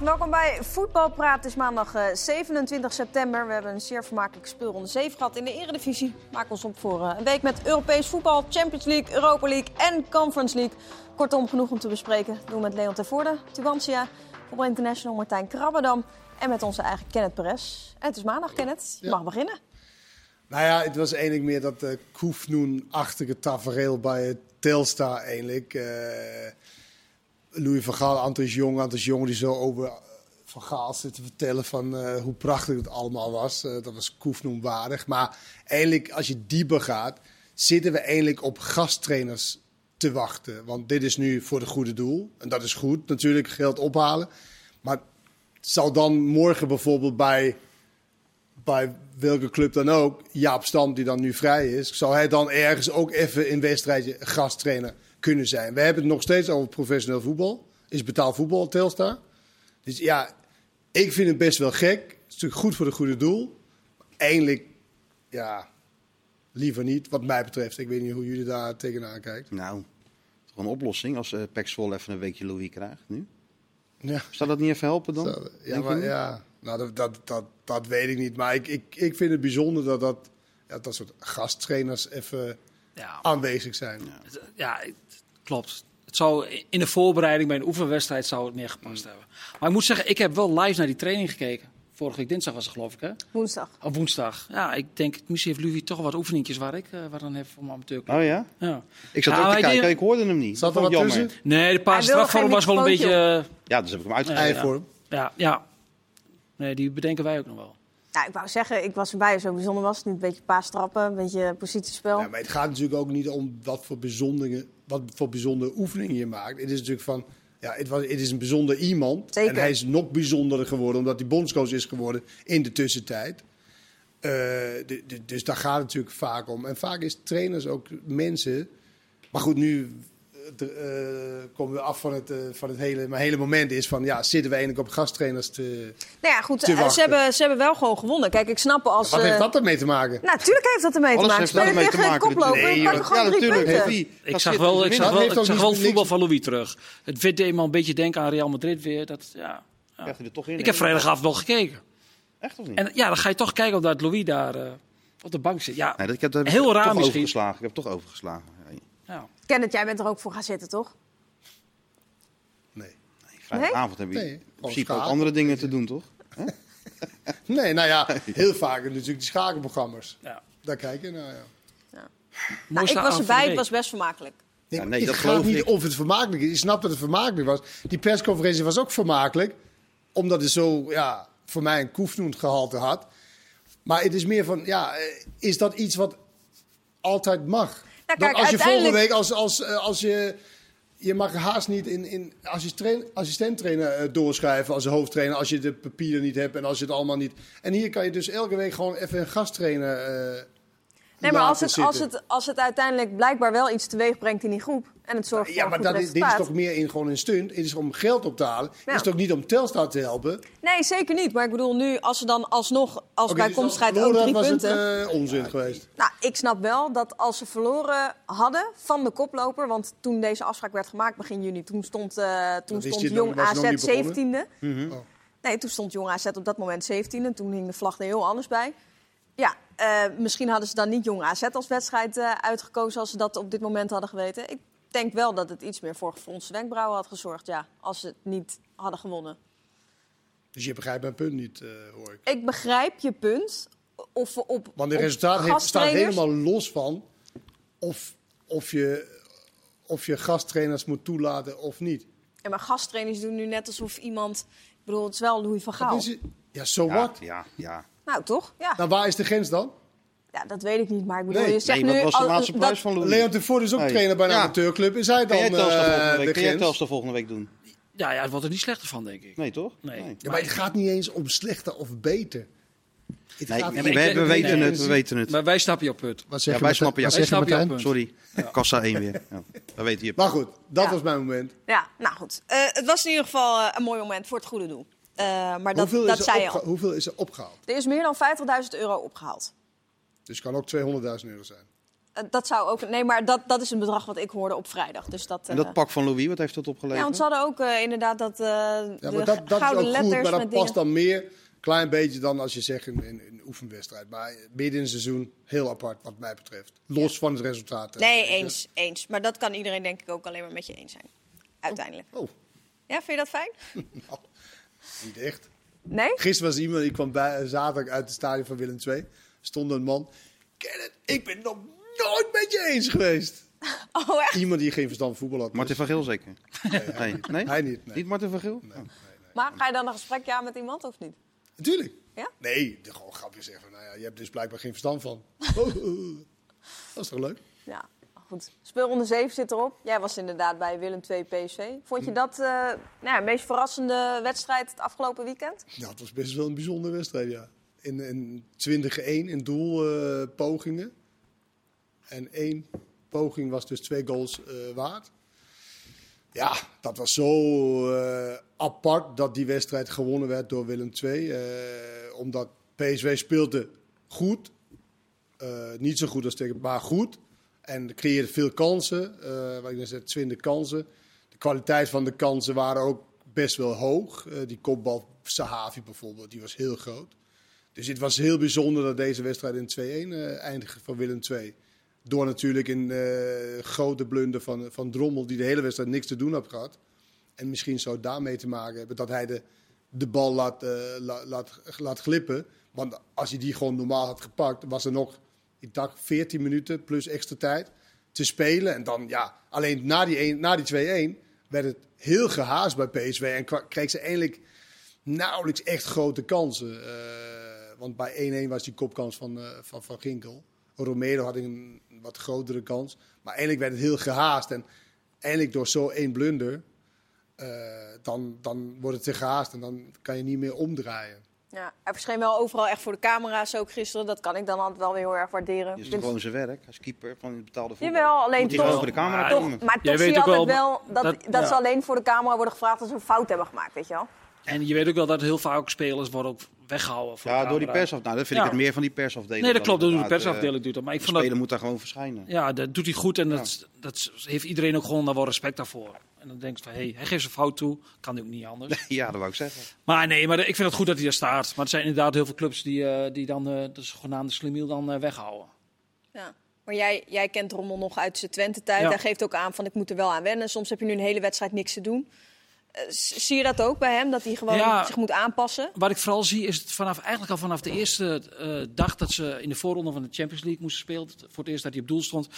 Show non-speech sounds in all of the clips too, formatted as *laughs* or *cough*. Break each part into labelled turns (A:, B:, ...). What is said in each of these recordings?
A: Welkom bij Voetbalpraat. Het is maandag eh, 27 september. We hebben een zeer vermakelijk speelronde 7 gehad in de Eredivisie. Maak ons op voor eh, een week met Europees voetbal, Champions League, Europa League en Conference League. Kortom, genoeg om te bespreken. Doen we met Leon Tervoorde, Tubantia, Voetbal International Martijn Krabbedam en met onze eigen Kenneth Perez. En het is maandag, Kenneth. Je
B: Ja.
A: mag beginnen.
B: Nou ja, het was eigenlijk meer dat eh Koefnoen-achtige tafereel bij het Telstar eigenlijk. eh, Louis van Gaal, Antois Jong, Antois Jong die zo over Van Gaal zit te vertellen van eh, hoe prachtig het allemaal was. Eh, dat was Koefnoen waardig. Maar eigenlijk, als je dieper gaat, zitten we eigenlijk op gasttrainers te wachten. Want dit is nu voor het goede doel. En dat is goed, natuurlijk geld ophalen. Maar het zal dan morgen bijvoorbeeld bij bij welke club dan ook, Jaap Stam, die dan nu vrij is, zou hij dan ergens ook even in wedstrijdje gasttrainer kunnen zijn. We hebben het nog steeds over professioneel voetbal. Is betaald voetbal, Telstar. Dus ja, ik vind het best wel gek. Het is natuurlijk goed voor het goede doel. Maar Eindelijk, ja, liever niet, wat mij betreft. Ik weet niet hoe jullie daar tegenaan kijken.
C: Nou, toch een oplossing als eh Pek Zwolle even een weekje Louis krijgt nu.
B: Ja.
C: Zou dat niet even helpen dan?
B: Zo,
C: Denk
B: Ja,
C: je
B: maar,
C: niet?
B: ja. Nou, dat, dat, dat, dat weet ik niet. Maar ik, ik, ik vind het bijzonder dat dat, ja, dat soort gasttrainers even
D: Ja,
C: Ah.
B: aanwezig zijn.
D: het- ja het, klopt. Het zou in de voorbereiding bij een oefenwedstrijd zou het meer gepast
C: Hmm.
D: hebben. Maar ik moet zeggen, ik heb wel live naar die training gekeken. Vorige week dinsdag was het geloof ik, hè?
A: Woensdag.
D: Of woensdag. Ja, ik denk, misschien heeft Louis toch wat oefeningjes waar ik eh, wat aan heb voor mijn amateurclub.
C: Oh ja?
D: Ja.
C: Ik zat
D: Ja,
C: ook
D: maar
C: te
D: ik
C: kijken,
D: denk-
C: ik hoorde hem niet.
B: Zat er
C: Dat vond
B: wat
C: ik
B: tussen?
C: jammer.
D: Nee, de paar
A: Hij wil
D: strafvorm
A: geen
D: was wel een beetje...
A: microfoontje
D: eh,
C: Ja, dus heb ik hem uitgelegd.
B: Eivorm.
D: ja, ja. Nee, die bedenken wij ook nog wel.
A: Nou, ik wou zeggen, ik was erbij. Zo bijzonder was het niet. Een beetje paastrappen, een beetje positiespel.
B: Ja, maar het gaat natuurlijk ook niet om wat voor, bijzondere, wat voor bijzondere oefeningen je maakt. Het is natuurlijk van, ja, het, was, het is een bijzonder iemand.
A: Zeker.
B: En hij is nog bijzonderder geworden omdat hij bondscoach is geworden in de tussentijd. Eh, de- de- dus daar gaat het natuurlijk vaak om. En vaak is trainers ook mensen. Maar goed, nu eh, de- eh, komen we af van het, eh, van het hele, maar hele moment is van, ja, zitten we eigenlijk op gasttrainers te...
A: Nou ja, goed,
B: te
A: eh, ze
B: wachten.
A: hebben, ze hebben wel gewoon gewonnen. Kijk, ik snap als...
B: Wat
A: eh,
B: heeft dat ermee te maken?
A: Nou, natuurlijk heeft dat ermee te
C: Alles
A: maken.
C: heeft daar
A: Spelen
C: mee te
A: tegen een
C: maken.
A: koploper,
C: natuurlijk.
A: nee,
B: Nee,
A: pakken
B: joh.
A: gewoon
C: ja,
A: drie
C: natuurlijk.
A: punten.
C: Wie-
D: Ik
C: dat
D: zag
C: zit
D: wel,
C: in de
D: ik zag
C: wind.
D: wel,
B: heeft
D: ik
B: ook
D: zag
B: niks-
D: wel
B: niks-
D: voetbal van Louis terug. Het werd eenmaal een beetje denken aan Real Madrid weer. Dat, ja.
C: Krijgt hij er toch in?
D: Ik heb vrijdagavond wel gekeken.
C: Echt of niet?
D: En ja, dan ga je toch kijken of dat Louis daar eh, op de bank zit. Ja,
C: nee, dat, ik heb, dat heb
D: Heel
C: ik
D: raar
C: toch
D: misschien.
C: overgeslagen. Ik heb toch overgeslagen. Ja,
D: ja.
A: Kenneth, jij bent er ook voor gaan zitten, toch?
B: Nee.
C: nee, vrijdagavond heb je
B: Nee,
C: in
B: gewoon
C: principe ook
B: schaken.
C: andere dingen te doen, toch?
B: nee, nou ja, heel vaak natuurlijk die schakelprogramma's.
D: Ja.
B: Daar kijk je naar, ja.
A: Nou, ik was erbij, het was best vermakelijk.
B: Nee,
C: Ja,
B: maar
C: nee,
B: het
C: dat
B: gaat
C: geloof
B: niet
C: ik.
B: of het vermakelijk is. Je snapt dat het vermakelijk was. Die persconferentie was ook vermakelijk. Omdat het zo, ja, voor mij een koefnoend gehalte had. Maar het is meer van, ja, eh, is dat iets wat altijd mag?
A: Nou, kijk,
B: Dat als je
A: uiteindelijk-
B: volgende week, als, als, eh, als je... Je mag haast niet in, in assistent- assistenttrainer eh, doorschrijven als hoofdtrainer... als je de papieren niet hebt en als je het allemaal niet... En hier kan je dus elke week gewoon even een gasttrainer eh
A: Nee, maar als
B: laten
A: het, als,
B: zitten.
A: het, als het uiteindelijk blijkbaar wel iets teweeg brengt in die groep... en het zorgt voor
B: Ja,
A: een Nou.
B: maar
A: goed
B: dat is, dit is
A: resultaat...
B: toch meer in, gewoon een stunt. Het is om geld op te halen.
A: Ja.
B: Het is toch niet om Telstar te helpen.
A: Nee, zeker niet. Maar ik bedoel, nu als ze dan alsnog, als
B: Oké,
A: bij
B: dus dan
A: komstrijd ook
B: verloren
A: drie
B: was
A: punten...
B: het eh, onzin geweest.
A: Nou, ik snap wel dat als ze verloren hadden van de koploper... want toen deze afspraak werd gemaakt begin juni... toen stond, eh, toen
B: is
A: stond
B: dit nog-
A: Jong
B: was nog
A: AZ
B: niet begonnen.
A: 17e.
B: Oh.
A: Nee, toen stond Jong AZ op dat moment 17 en toen hing de vlag er heel anders bij. Ja, eh, misschien hadden ze dan niet Jong AZ als wedstrijd eh, uitgekozen als ze dat op dit moment hadden geweten. Ik denk wel dat het iets meer voor gefronste wenkbrauwen had gezorgd, ja, als ze het niet hadden gewonnen.
B: Dus je begrijpt mijn punt niet, eh, hoor ik.
A: Ik begrijp je punt. Of we op,
B: Want de
A: op
B: resultaat heeft, staat
A: gasttrainers-
B: helemaal los van of, of, je, of je gasttrainers moet toelaten of niet.
A: Ja, maar gasttrainers doen nu net alsof iemand... Ik bedoel, het is wel Louis van
B: Dat
A: Gaal.
B: is het. Ja, so
C: Ja,
B: what?
C: Ja, ja.
A: Nou, toch? Ja.
B: Nou, waar is de grens dan?
A: ja, dat weet ik niet. Maar ik bedoel,
B: Nee.
A: je zegt
C: Nee, wat
A: nu...
C: was de
A: al-
C: laatste
A: dat-
C: prijs van Louis?
B: Leon Tevoort is ook
C: Nee.
B: trainer bij een
C: Ja.
B: amateurclub. Is hij dan
C: Kun jij Telstar volgende
B: eh
C: week-
B: de
C: kun jij
B: grens?
C: Telstar volgende week doen?
D: Ja, ja, het wordt er niet slechter van, denk ik.
C: Nee, toch?
D: Nee.
B: Ja, maar het gaat niet eens om slechter of beter. Het
C: Nee,
B: gaat
C: we,
D: ik-
C: we
D: ik-
C: weten
D: nee.
C: het, we weten het.
D: Maar wij snappen je punt.
B: Wat
C: Ja,
B: zeg je,
C: wij
B: Martijn?
C: snappen jou.
B: Wat zeg je,
D: Wij snappen jou.
B: Martijn?
C: Sorry,
D: punt.
C: kassa 1 weer. Ja, dat weet je.
B: Maar goed, dat
A: Ja.
B: was mijn moment.
A: Ja, nou goed. Eh, het was in ieder geval eh, een mooi moment voor het goede doel. Eh, maar dat,
B: hoeveel,
A: dat
B: is er
A: zei je
B: opgeha-
A: al.
B: hoeveel is er opgehaald?
A: Er is meer dan 50.000 euro opgehaald.
B: Dus het kan ook 200.000 euro zijn.
A: Eh, Dat zou ook. Nee, maar dat, dat is een bedrag wat ik hoorde op vrijdag. Dus dat,
C: En
A: eh,
C: dat pak van Louis, wat heeft dat opgeleverd?
A: ja, want ze hadden ook eh, inderdaad dat. eh,
B: Ja,
A: de
B: maar dat, dat is
A: gouden
B: ook
A: letters
B: goed, maar dat
A: met
B: past
A: dingen.
B: dan meer, klein beetje dan als je zegt een, een, een oefenwedstrijd. Maar midden in het seizoen heel apart wat mij betreft. Los van het resultaat. hè.
A: Nee, eens, eens. Maar dat kan iedereen denk ik ook alleen maar met je eens zijn. Uiteindelijk.
B: Oh, *laughs*
A: Ja, vind je dat fijn?
B: nou, niet echt.
A: Nee? *laughs*
B: Gisteren was er iemand die kwam bij, zaterdag uit het stadion van Willem II. Stond een man. Kenneth, ik ben het nog nooit met je eens geweest.
A: Oh, echt?
B: Iemand die geen verstand van voetbal had.
C: Martin van Geel zeker? Nee, nee?
B: Hij niet, nee.
C: Niet Martin van Geel? Oh,
A: Maar ga je dan een gesprekje aan met iemand of niet?
B: Natuurlijk.
A: Ja?
B: Nee, de- gewoon grapjes zeggen. van, Nou ja, je hebt dus blijkbaar geen verstand van. *laughs* Oh. Dat is toch leuk?
A: Ja, goed. Speelronde 7 zit erop. Jij was inderdaad bij Willem 2 PSV. Vond je dat eh nou ja, de meest verrassende wedstrijd het afgelopen weekend?
B: Ja, het was best wel een bijzondere wedstrijd, ja. In, in 20-1 in doelpogingen. pogingen en één poging was dus twee goals eh, waard. Ja, dat was zo eh, apart dat die wedstrijd gewonnen werd door Willem II. eh, omdat PSV speelde goed. Eh, niet zo goed als tegen, maar goed. En creëerde veel kansen. eh wat ik net zei, 20 kansen. De kwaliteit van de kansen waren ook best wel hoog. Eh, die kopbal Sahavi bijvoorbeeld, die was heel groot. Dus het was heel bijzonder dat deze wedstrijd in 2-1 eh eindigde van Willem II. Door natuurlijk een eh, grote blunder van, van Drommel, die de hele wedstrijd niks te doen had gehad. En misschien zou het daarmee te maken hebben dat hij de, de bal laat, eh, la- laat, laat glippen. Want als hij die gewoon normaal had gepakt, was er nog, ik dacht, 14 minuten plus extra tijd te spelen. En dan, ja, alleen na die, een- na die 2-1 werd het heel gehaast bij PSV. En kwa- kreeg ze eindelijk nauwelijks echt grote kansen. Eh, want bij 1-1 was die kopkans van, eh, van Van Ginkel. Romero had een wat grotere kans. Maar eigenlijk werd het heel gehaast. En eigenlijk door zo één blunder, eh, dan, dan wordt het te gehaast. En dan kan je niet meer omdraaien.
A: Ja, hij verscheen wel overal echt voor de camera's ook gisteren. Dat kan ik dan altijd wel weer heel erg waarderen.
C: Is
A: Ik
C: het
A: vind-
C: gewoon zijn werk als keeper van het betaalde voetbal?
A: dus- Jawel, alleen
C: Moet hij
A: toch-
C: gewoon voor de camera
A: Toch,
C: komen?
A: maar
D: Jij
A: toch zie
D: weet
A: je
D: ook
A: altijd wel
D: wel-
A: dat, dat,
D: dat-
A: ze
D: ja.
A: alleen voor de camera worden gevraagd als ze een fout hebben gemaakt, weet je wel?
D: En je weet ook wel dat heel vaak ook spelers worden ook weggehouden. voor
C: Ja,
D: de
C: door die
D: camera.
C: persafdeling. Nou, dat vind ik
D: Ja.
C: het meer van die persafdeling.
D: Nee, dat
C: dan
D: klopt. Dat doet de
C: inderdaad,
D: persafdeling doet dat. Maar
C: eh, de
D: ik vond
C: speler
D: dat,
C: moet daar gewoon verschijnen.
D: ja, dat doet hij goed en dat, dat heeft iedereen ook gewoon daar wel respect daarvoor. En dan denk ik van, hé, hey, hij geeft zijn fout toe. Kan ook niet anders.
C: Ja, dat wou ik zeggen.
D: Maar nee, maar ik vind het goed dat hij daar staat. Maar er zijn inderdaad heel veel clubs die, eh, die dan eh, de zogenaamde slimiel dan eh, weghouden.
A: Ja. Maar jij, jij kent Rommel nog uit zijn Twente-tijd.
D: Ja.
A: Hij geeft ook aan van ik moet er wel aan wennen. Soms heb je nu een hele wedstrijd niks te doen. Eh, s- zie je dat ook bij hem? Dat hij gewoon
D: Ja.
A: zich moet aanpassen?
D: Wat ik vooral zie is het vanaf, eigenlijk al vanaf de eerste eh, dag dat ze in de voorronde van de Champions League moesten spelen, voor het eerst dat hij op doel stond,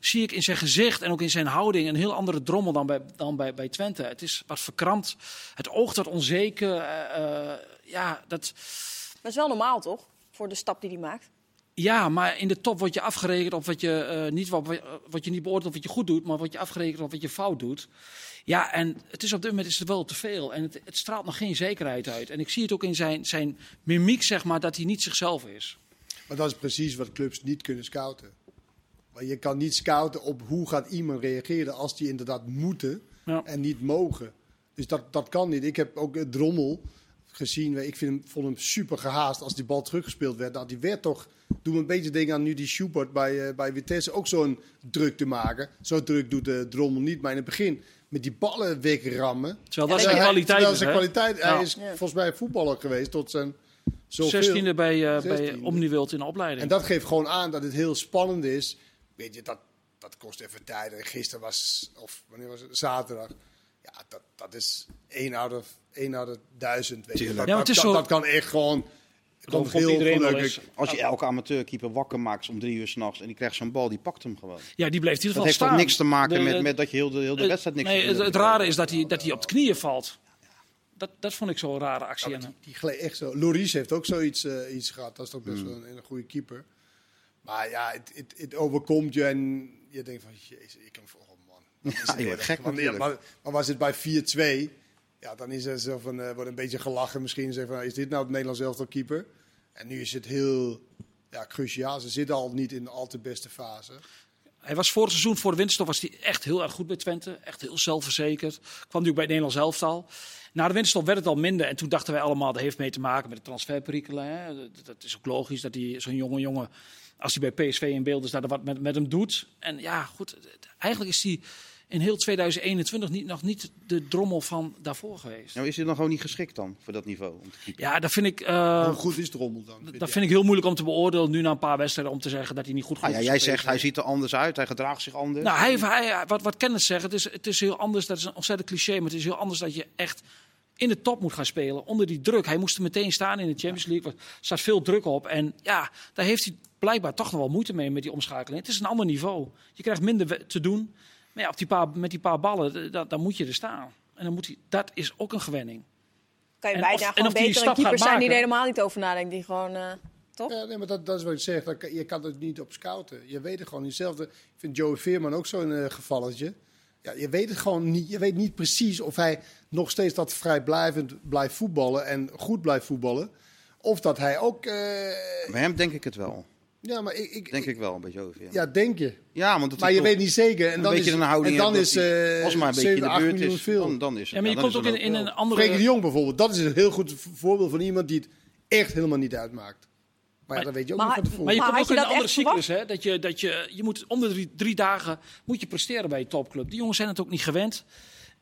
D: zie ik in zijn gezicht en ook in zijn houding een heel andere drommel dan bij, dan bij, bij Twente. Het is wat verkrampt, het oogt wat onzeker. eh, eh, ja, dat,
A: Maar is wel normaal toch? Voor de stap die hij maakt.
D: ja, maar in de top word je afgerekend op wat je, eh, niet, wat, wat je niet beoordeelt wat je goed doet, maar wat je afgerekend op wat je fout doet. Ja, en het is op dit moment is het wel te veel. En het, het straalt nog geen zekerheid uit. En ik zie het ook in zijn, zijn mimiek, zeg maar, dat hij niet zichzelf is.
B: Maar dat is precies wat clubs niet kunnen scouten. Maar je kan niet scouten op hoe gaat iemand reageren als die inderdaad moeten
D: Ja.
B: en niet mogen. Dus dat, dat kan niet. Ik heb ook eh, Drommel gezien. Ik vind hem, vond hem super gehaast als die bal teruggespeeld werd. Nou, die werd toch... Doe me een beetje denken aan nu die Schubert bij, eh, bij Vitesse. Ook zo'n druk te maken. Zo druk doet eh, Drommel niet. Maar in het begin met die ballen wegrammen.
D: Terwijl dat
A: Ja,
D: zijn
A: hij-
D: kwaliteit
B: terwijl
D: is.
B: zijn
D: hè?
B: kwaliteit...
D: Ja.
B: Hij is volgens mij voetballer geweest tot zijn... zoveel.
D: 16e bij, eh bij
B: 16e.
D: Omniworld in de opleiding.
B: En dat geeft gewoon aan dat het heel spannend is. Weet je, dat, dat kost even tijd. En gisteren was, of wanneer was het? Zaterdag. Ja, dat, dat is één out of, één out of duizend. Weet je. Dat,
C: Tuurlijk.
D: Ja, maar het
B: dat,
D: is
B: dat,
D: zo-
B: dat kan echt gewoon... Komt
D: komt
B: heel
D: iedereen wel
B: gelukkig.
D: eens.
C: Als je elke amateurkeeper wakker maakt om drie uur s'nachts en die krijgt zo'n bal, die pakt hem gewoon.
D: ja, die bleef in ieder
C: Dat
D: geval
C: heeft
D: staan.
C: toch niks te maken
D: De-
C: met,
D: de-
C: met dat je heel de, heel de
D: het-
C: wedstrijd niks
D: nee,
C: te
D: het,
C: doen
D: het
C: hebt.
D: rare is dat hij, dat hij op de knieën valt. Dat, dat vond ik zo'n rare actie.
B: Ja, maar
D: En-
B: die, die gleed echt zo. Loris heeft ook zoiets eh, iets gehad. Dat is toch best
C: Hmm.
B: wel een, een goede keeper. Maar ja, het, het, het overkomt je en je denkt van, jezus, ik kan voor
C: *laughs*
B: oh man. Dat is het
C: je wordt
B: erg.
C: gek
B: Want, ja,
C: natuurlijk.
B: maar, maar was het bij 4-2, ja, dan is er zo van, eh, wordt een beetje gelachen misschien. Zeg van, is dit nou het Nederlands elftal keeper? En nu is het heel ja, cruciaal. Ze zitten al niet in de al te beste fase.
D: Hij was vorig seizoen, voor de winterstop, was hij echt heel erg goed bij Twente. Echt heel zelfverzekerd. Kwam natuurlijk bij het Nederlands elftal. Na de winterstop werd het al minder. En toen dachten wij allemaal, dat heeft mee te maken met de transferperikelen. Hè. Dat, dat is ook logisch dat die- zo'n jonge jongen, als hij bij PSV in beeld is, dat er wat met, met hem doet. En ja, goed. het- Eigenlijk is hij in heel 2021 niet, nog niet de drommel van daarvoor geweest.
C: Nou, is hij dan gewoon niet geschikt dan voor dat niveau? Om te keepen?
D: Ja, dat vind ik... eh,
B: Hoe goed is Drommel dan?
D: dat vind ik heel moeilijk om te beoordelen nu na een paar wedstrijden om te zeggen dat hij niet goed
C: Ah,
D: genoeg
C: ja,
D: is
C: jij
D: voor
C: zegt
D: PSV.
C: hij ziet er anders uit, hij gedraagt zich anders.
D: Nou, hij, heeft- hij, wat, wat Kenneth zegt, het is, het is heel anders. Dat is een ontzettend cliché, maar het is heel anders dat je echt in de top moet gaan spelen. Onder die druk. Hij moest er meteen staan in de Champions League. Er staat veel druk op. En ja, daar heeft hij blijkbaar toch nog wel moeite mee met die omschakeling. Het is een ander niveau. Je krijgt minder we- te doen. Maar ja, op die paar, met die paar ballen, d- dat, dan moet je er staan. En dan moet hij, dat is ook een gewenning.
A: Kan je
D: En
A: bijna
D: of- en
A: gewoon
D: of die
A: betere
D: stap gaat
A: keepers zijn die er
D: maken.
A: helemaal niet over nadenken. Die gewoon, eh, toch?
B: Ja, nee, maar dat, dat is wat ik zeg. Dat, kan- je kan het niet op scouten. Je weet het gewoon niet. Hetzelfde- Ik vind Joey Veerman ook zo'n eh, gevalletje. Ja, je weet het gewoon niet. Je weet niet precies of hij nog steeds dat vrijblijvend blijft voetballen en goed blijft voetballen. Of dat hij ook. eh,
C: Bij hem denk ik het wel.
B: ja, maar ik. ik
C: Denk ik wel, een beetje over. Ja,
B: Ja, denk je.
C: Ja, want dat
B: Maar
C: hij
B: je
C: toch
B: weet niet zeker. En
C: een
B: dan
C: beetje
B: is,
C: een houding.
B: en dan
C: heeft
B: is
C: dat hij-
B: eh
C: als maar een beetje in
B: 7, 8
C: de buurt
B: miljoen
C: is,
B: veel.
C: dan, dan is het.
D: Ja, maar je
C: dan
D: komt
C: is
D: ook
C: het
D: in, in een andere...
B: Freek de Jong bijvoorbeeld. Dat is een heel goed v- voorbeeld van iemand die het echt helemaal niet uitmaakt. Maar ja, dat weet je ook
A: Maar-
B: niet van tevoren.
D: Maar je
A: Maar
D: komt
A: had
D: ook
A: je
D: in een
A: dat
D: andere
A: echt
D: cyclus. Hè? Dat je, dat je, je moet om de drie, drie dagen moet je presteren bij je topclub. Die jongens zijn het ook niet gewend.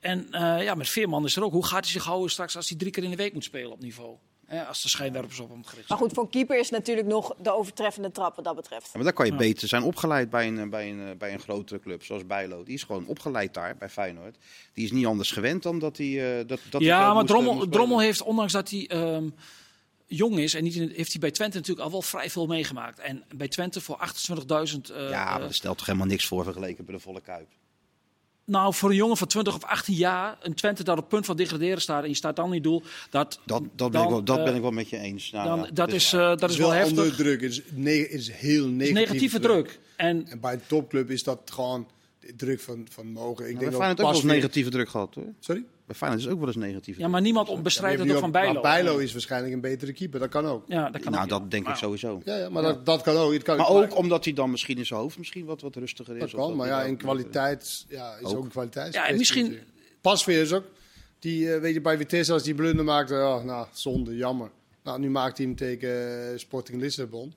D: En eh, ja, met Veerman is er ook. Hoe gaat hij zich houden straks als hij drie keer in de week moet spelen op niveau? Hè, als de schijnwerpers op hem gericht
A: Maar
D: zijn.
A: goed, voor een keeper is natuurlijk nog de overtreffende trap wat dat betreft.
C: Ja, maar dan kan je beter zijn opgeleid bij een, eh, bij, een, eh, bij een grotere club, zoals Bijlo. Die is gewoon opgeleid daar, bij Feyenoord. Die is niet anders gewend dan dat hij... eh, dat, dat hij
D: ja,
C: wel
D: maar
C: moest, eh,
D: Drommel,
C: moest spelen.
D: Drommel heeft, ondanks dat hij ehm, jong is, en niet in, heeft hij bij Twente natuurlijk al wel vrij veel meegemaakt. En bij Twente voor 28.000 eh,
C: Ja, maar dat stelt toch helemaal niks voor vergeleken bij de volle Kuip.
D: Nou, voor een jongen van 20 of 18 jaar, een Twente dat op punt van degraderen staat en je staat dan in doel, dat,
C: Dat, dat, ben,
D: Dan,
C: ik wel, dat
D: eh,
C: ben ik wel met je eens. Nou,
D: dan,
C: ja,
D: dat,
C: dus
D: is,
C: ja.
D: eh, dat is wel
B: wel
D: heftig.
B: onder druk. Het is, ne- is heel negatieve,
D: negatieve druk. En
B: En bij een topclub is dat gewoon de druk van, van mogen. Ik
C: Maar
B: denk
C: bij
B: dat
C: Feyenoord ook wel
B: pas
C: eens
B: weer-
C: negatieve druk gehad, hoor.
B: Sorry?
C: Bij Feyenoord is ook wel eens negatieve
D: ja,
C: druk.
D: maar niemand bestrijdt
B: Ja,
D: dat
B: maar
D: door van
B: die-
D: Bijlo.
B: Maar Bijlo is waarschijnlijk een betere keeper. Dat kan ook.
D: Ja, dat kan
C: nou,
D: ook, ja.
C: dat denk ik
D: Maar-
C: sowieso.
B: Ja, ja maar Dat, dat kan ook. Het kan
C: Maar ook omdat hij dan misschien in zijn hoofd misschien wat, wat rustiger is.
B: Dat
C: of
B: kan, maar
C: hij
B: ja,
C: dan-
B: in kwaliteit ja, is ook,
C: Ook.
B: een kwaliteit.
D: Ja, en misschien-
B: Pas weer is ook. Die, eh, weet je, bij Vitesse, als die blunder maakte, oh, nou, zonde, jammer. Nou, nu maakt hij hem tegen eh, Sporting Lissabon.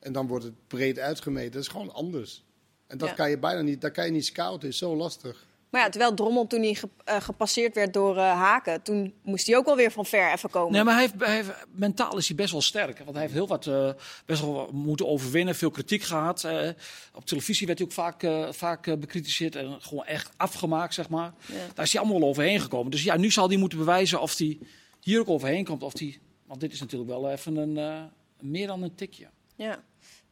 B: En dan wordt het breed uitgemeten. Dat is gewoon anders. En dat
A: Ja.
B: kan je bijna niet, dat kan je niet scouten. is zo lastig.
A: Maar ja, terwijl Drommel toen hij ge- eh, gepasseerd werd door eh, Haken, toen moest hij ook wel weer van ver even komen.
D: Nee, maar hij heeft, hij heeft- mentaal is hij best wel sterk. Want hij heeft heel wat, eh, best wel wat moeten overwinnen. Veel kritiek gehad. eh, op televisie werd hij ook vaak, eh, vaak eh, bekritiseerd. En gewoon echt afgemaakt, zeg maar. Daar is hij allemaal wel overheen gekomen. Dus ja, nu zal hij moeten bewijzen of hij hier ook overheen komt. Of hij, want dit is natuurlijk wel even een, eh, meer dan een tikje.
A: Ja.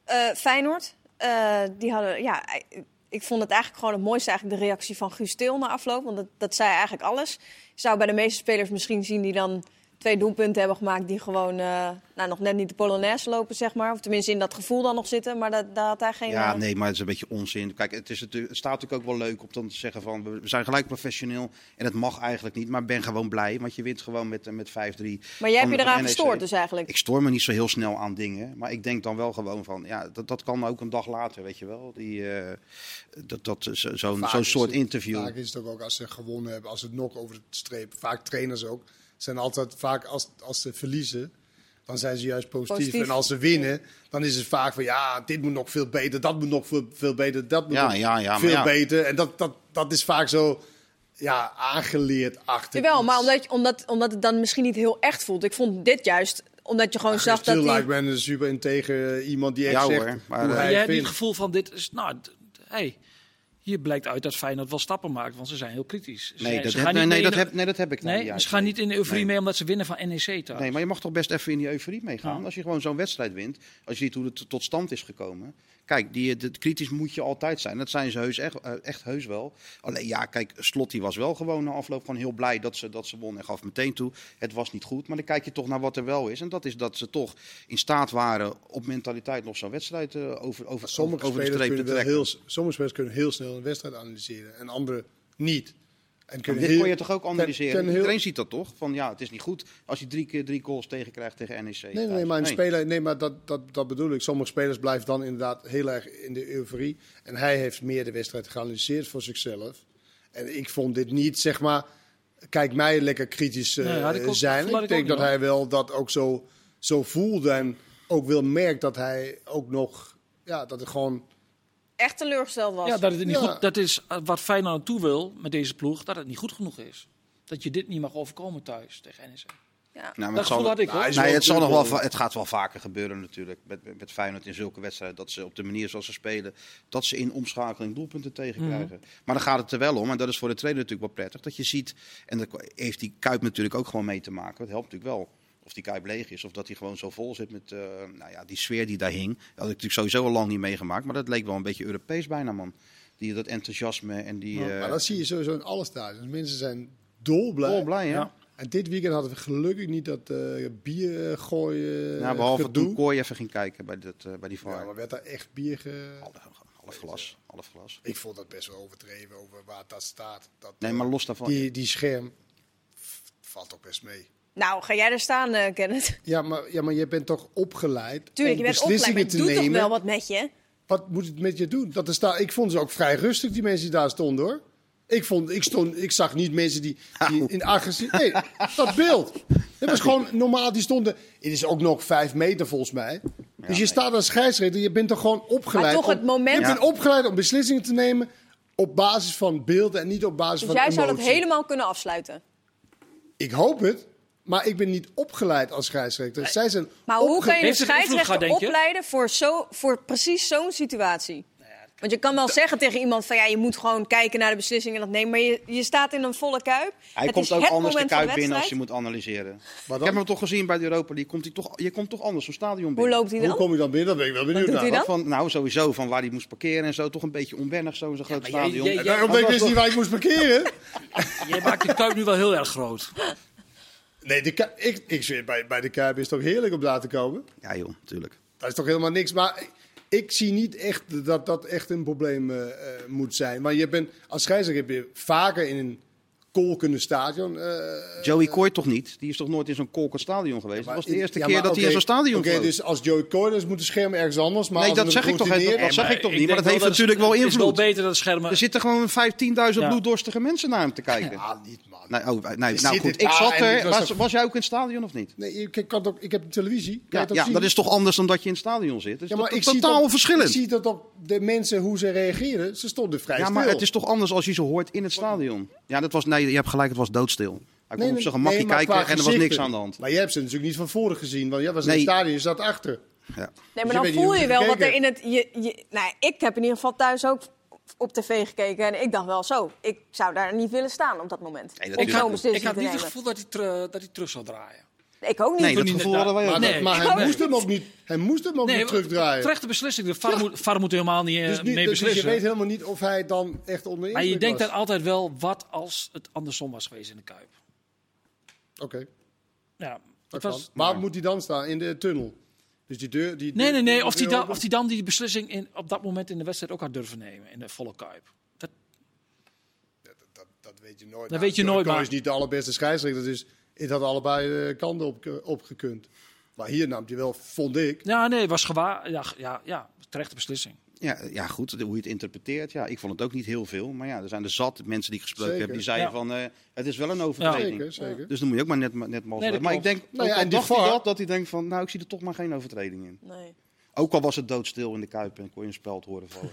A: Eh, Feyenoord, eh, die hadden, ja, eh, ik vond het eigenlijk gewoon het mooiste eigenlijk de reactie van Guus Til na afloop. Want dat, dat zei eigenlijk alles. Je zou bij de meeste spelers misschien zien die dan twee doelpunten hebben gemaakt... die gewoon eh, nou, nog net niet de Polonaise lopen, zeg maar. Of tenminste in dat gevoel dan nog zitten. Maar dat, daar had hij geen...
C: Ja,
A: eh,
C: nee, maar het is een beetje onzin. Kijk, het, is natuurlijk, het staat natuurlijk ook wel leuk om dan te zeggen van... we we zijn gelijk professioneel en het mag eigenlijk niet. Maar ben gewoon blij, want je wint gewoon met, eh, met 5-3.
A: Maar jij hebt je eraan
B: E
C: van- van NEC.
A: gestoord dus eigenlijk?
C: Ik stoor me niet zo heel snel aan dingen. Maar ik denk dan wel gewoon van... Ja, dat, dat kan ook een dag later, weet je wel. Die, eh, dat, dat, zo- zo'n
B: Vaak
C: zo'n
B: is
C: soort
B: het-
C: interview.
B: Vaak is het ook, ook als ze gewonnen hebben, als ze het nog over de streep. Vaak trainers ook. Zijn altijd vaak als, als ze verliezen, dan zijn ze juist positief.
A: Positief.
B: En als ze winnen, dan is het vaak van ja, dit moet nog veel beter, dat moet nog veel, veel beter, dat moet
C: Ja,
B: nog
C: ja, ja, maar
B: veel
C: ja.
B: beter. En dat, dat, dat is vaak zo ja, aangeleerd achter.
A: Jawel,
B: iets.
A: maar omdat, je- omdat, omdat het dan misschien niet heel echt voelt. Ik vond dit juist, omdat je gewoon zag dat
B: Stil
A: die...
B: lijkt me een super integer eh, iemand die echt
C: Ja,
B: zegt
C: hoor, maar,
B: hoe
C: eh,
B: hij
D: Maar jij
B: het
D: hebt niet het
B: vindt.
D: gevoel van dit is... Nou, d- d- hey, hier blijkt uit dat Feyenoord wel stappen maakt. Want ze zijn heel kritisch. Ze-
C: Nee,
D: ze
C: dat heb-
D: gaan
C: nee,
D: niet
C: nee,
D: mee in
C: dat
D: de-
C: heb- nee, dat heb ik nou
D: Nee,
C: niet
D: ze
C: juist.
D: gaan niet in de euforie
C: Nee.
D: mee omdat ze winnen van E NEC thuis.
C: Nee, maar je mag toch best even in die euforie meegaan.
D: Ja.
C: Als je gewoon zo'n wedstrijd wint, als je ziet hoe het t- tot stand is gekomen. Kijk, die, de, kritisch moet je altijd zijn. Dat zijn ze heus echt, eh, echt heus wel. Alleen ja, kijk, Slot die was wel gewoon na afloop van heel blij dat ze, dat ze won. En gaf meteen toe, het was niet goed. Maar dan kijk je toch naar wat er wel is. En dat is dat ze toch in staat waren op mentaliteit nog zo'n wedstrijd eh, over, over,
B: Sommige
C: over de
B: spelers,
C: streep te
B: kunnen wel
C: trekken.
B: heel, sommige spelers kunnen heel snel een wedstrijd analyseren en anderen niet. En
C: Maar
B: kun
C: dit
B: heel-
C: kon je toch ook analyseren?
B: kan heel-
C: Iedereen ziet dat toch? Van ja, het is niet goed als je drie keer drie goals tegenkrijgt tegen NEC.
B: Nee, nee,
C: thuis.
B: nee, maar, een speler, nee, maar dat, dat, dat bedoel ik. Sommige spelers blijven dan inderdaad heel erg in de euforie. En hij heeft meer de wedstrijd geanalyseerd voor zichzelf. En ik vond dit niet, zeg maar, kijk mij lekker kritisch eh,
D: Nee, had ik ook-
B: zijn.
D: vond ik
B: Ik denk
D: ook
B: dat
D: niet,
B: hij wel dat ook zo, zo voelde. En ook wel merkt dat hij ook nog, ja, dat het gewoon...
A: Echt teleurgesteld was.
D: Ja, dat, het niet
B: Ja.
D: goed, dat is eh, wat Feyenoord naartoe wil met deze ploeg, dat het niet goed genoeg is. Dat je dit niet mag overkomen thuis tegen E NEC.
A: Ja.
C: Nou, maar
D: Dat
C: het zal-
D: gevoel had ik hoor.
C: Nee, het, zal nog wel, va- het gaat wel vaker gebeuren natuurlijk met, met- met Feyenoord in zulke wedstrijden. Dat ze op de manier zoals ze spelen, dat ze in omschakeling doelpunten tegenkrijgen.
B: Mhm.
C: Maar dan gaat het er wel om, en dat is voor de trainer natuurlijk wel prettig, dat je ziet, en daar heeft die Kuip natuurlijk ook gewoon mee te maken. Dat helpt natuurlijk wel. Of die Kuip leeg is, of dat hij gewoon zo vol zit met eh, nou ja, die sfeer die daar hing. Dat had ik natuurlijk sowieso al lang niet meegemaakt, maar dat leek wel een beetje Europees bijna, man. Die, dat enthousiasme en die... eh
B: Maar dat zie je sowieso in alle stadions. Dus Mensen zijn dolblij.
C: volblij, hè?
D: Ja.
B: En dit weekend hadden we gelukkig niet dat eh, bier eh, gooien
C: Nou, behalve
B: gedoe.
C: toen Kooi even ging kijken bij, dat, eh, bij die VAR.
B: Ja, maar werd daar echt bier ge...
C: Half glas, half glas.
B: Ik vond dat best wel overdreven over waar dat staat. Dat, eh,
C: Nee, maar los daarvan.
B: die, die scherm v- valt toch best mee.
A: Nou, ga jij er staan, eh, Kenneth?
B: Ja maar, ja, maar je bent toch opgeleid
A: Tuurlijk,
B: om
A: je bent opgeleid, maar
B: beslissingen
A: het
B: te
A: doet toch
B: nemen.
A: wel
B: Wat...
A: wat met je?
B: moet het met je doen? Dat er sta... Ik vond ze ook vrij rustig, die mensen die daar stonden hoor. Ik, vond, ik, stond, ik zag niet mensen die, die in agressie... Nee, dat beeld. Het was gewoon normaal, die stonden... Het is ook nog vijf meter volgens mij. Dus je staat als scheidsrechter, je bent toch gewoon opgeleid.
A: Maar toch
B: om-
A: het moment-
B: Je bent
C: Ja.
B: opgeleid om beslissingen te nemen op basis van beelden en niet op basis
A: Dus
B: van
A: jij
B: emotie.
A: zou dat helemaal kunnen afsluiten.
B: Ik hoop het, maar ik ben niet opgeleid als scheidsrechter. Zij zijn
A: Maar hoe
B: opge-
A: kun je een
D: Heeft het invloed gehad,
A: scheidsrechter
D: denk je?
A: opleiden voor, zo, voor precies zo'n situatie? Want je kan wel zeggen tegen iemand van ja, je moet gewoon kijken naar de beslissingen en dat nemen. Maar je, je staat in een volle kuip.
C: Hij
A: Het
C: komt
A: is
C: ook
A: het
C: anders de
A: moment van
C: kuip binnen als je
A: wedstrijd.
C: moet analyseren.
B: dan?
C: Ik heb hem toch gezien bij de Europa League. Komt hij toch, je komt toch anders zo'n stadion
A: Hoe
C: binnen.
A: loopt hij
B: Hoe
A: dan?
B: kom ik dan binnen? Dat ben ik wel benieuwd
A: doet hij
B: naar.
A: dan?
C: Wat van, nou, sowieso van waar hij moest parkeren en zo. Toch een beetje onwennig, zo in zo'n groot
D: maar jij-
C: stadion.
D: jij-
C: En
D: jij-
B: Daarom
C: dat
B: denk ik dus
C: was
B: niet
C: toch-
B: waar ik moest parkeren.
D: Jij maakt de kuip nu wel heel erg groot.
B: Nee, de Ku- ik, ik zweer, bij, bij de Kuip is het toch heerlijk om daar te komen?
C: Ja joh, natuurlijk.
B: Dat is toch helemaal niks. Maar ik, ik zie niet echt dat dat echt een probleem eh, eh, moet zijn. Want je bent, als scheidsrechter heb je vaker in een kolkende stadion... eh,
C: Joey Kooi toch niet? Die is toch nooit in zo'n kolkend stadion geweest? Dat was de
B: in-
C: eerste
B: ja,
C: keer
B: maar
C: dat hij in
B: oké,
C: zo'n stadion
B: Oké,
C: vloog.
B: dus als Joey Coyne is, moet de scherm ergens anders. Maar
C: Nee,
B: als
C: dat
B: een
C: zeg ik toch
B: geroutineerd-
C: helemaal- Dat zag ik toch niet,
D: denk
C: maar dat heeft
D: het-
C: natuurlijk wel
D: Het is
C: invloed.
D: wel beter dat schermen...
C: Er zitten gewoon 15.000
D: Ja.
C: bloeddorstige mensen naar hem te kijken.
B: Ah, niet man.
C: Nee, oh, nee, nou
B: zit
C: goed,
B: het
C: ik
B: daar
C: zat
B: en het
C: er.
B: was
C: Was,
B: toch-
C: was jij ook in het stadion of niet?
B: Nee, ik, kan toch, ik heb een televisie. Kan
C: Ja,
B: je dat
C: ja
B: zien?
C: dat is toch anders dan dat je in het stadion zit? Dat is
B: Ja, maar
C: to-
B: ik zie
C: totaal
B: toch-
C: verschillend.
B: Ik zie dat ook de mensen hoe ze reageren. Ze stonden vrij
C: Ja,
B: stil.
C: maar het is toch anders als je ze hoort in het stadion. Ja, dat was, nee, je hebt gelijk, het was doodstil. Hij kon op zijn gemakje
B: nee, maar
C: kijken
B: qua
C: en er was
B: gezichten.
C: niks aan de hand.
B: Maar jij hebt ze natuurlijk niet van voren gezien, want jij was in
C: Nee.
B: het stadion, je zat achter.
C: Ja.
A: Nee,
B: Dus je
A: maar dan
B: weet niet
A: voel
B: hoe
A: je
B: het
A: wel wat
B: gekeken
A: er in het. Je, je, nou, ja, ik heb in ieder geval thuis ook op tv gekeken en ik dacht wel zo. Ik zou daar niet willen staan op dat moment.
C: Nee,
A: om
C: natuurlijk.
A: zo'n
C: Ik
D: Ik
A: beslissing
D: had
A: te
D: niet het
A: nemen.
D: gevoel dat hij, ter- dat hij terug zou draaien.
A: Ik ook niet.
C: Nee, dat
D: niet
C: gevoel hadden
D: inderdaad.
C: wij ook.
B: Maar,
C: niet.
B: dat-
D: Nee,
B: maar
D: ik
B: hij,
D: ook
B: moest
D: niet.
B: hem ook niet, hij moest hem ook niet terugdraaien.
D: Terechte beslissing. De VAR,
B: Ja.
D: moet, VAR moet helemaal niet eh,
B: dus, nu,
D: mee
B: dus je
D: beslissen.
B: weet helemaal niet of hij dan echt onder
D: maar je
B: indruk
D: denkt
B: was.
D: dan altijd wel wat als het andersom was geweest in de Kuip.
B: Oké,
D: Ja,
B: dat
D: het
B: kan.
D: was,
B: Maar moet hij dan staan? In de tunnel? Dus die deur... Die
D: nee, nee, nee. Of
B: die
D: die,
B: deur
D: dan,
B: open-
D: of die dan die beslissing in, op dat moment in de wedstrijd ook had durven nemen. In de volle Kuip. Dat,
B: Dat, dat, dat weet je nooit.
D: Dat weet je nooit,
B: Turco
D: maar-
B: is niet de allerbeste scheidsrechter, dus het had allebei eh, kanten op, opgekund. Maar hier nam hij wel, vond ik,
D: ja, nee, het was gewaar. Ja, ge- ja, ja, terechte beslissing.
C: Ja, ja, goed, hoe je het interpreteert. Ja, ik vond het ook niet heel veel. Maar ja, er zijn er zat mensen die ik gesproken
B: Zeker.
C: hebben. Die zeiden
D: Ja.
C: van, eh, het is wel een overtreding.
B: Zeker, zeker.
C: Dus dan moet je ook maar net, net mal
D: Nee, dat
C: Maar ik
D: klopt.
C: denk,
B: Nou
C: ook
B: ja,
C: al
B: en die
C: dacht hij
B: VAR
C: dat, dat hij denkt van, nou, ik zie er toch maar geen overtreding in.
A: Nee.
C: Ook al was het doodstil in de Kuip en kon je een speld horen
B: *laughs*
C: vallen.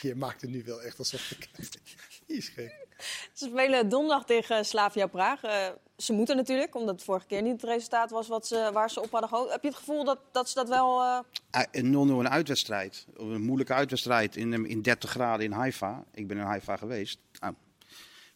B: je maakt het nu wel echt alsof ik... *laughs* Is gek.
A: Ze spelen donderdag tegen Slavia Praag. Eh, ze moeten natuurlijk, omdat het vorige keer niet het resultaat was wat ze, waar ze op hadden gehoopt. Heb je het gevoel dat, dat ze dat wel... eh,
C: Eh, Een 0-0 een uitwedstrijd. Een moeilijke uitwedstrijd in, ehm, in 30 graden in Haifa. Ik ben in Haifa geweest. Nou,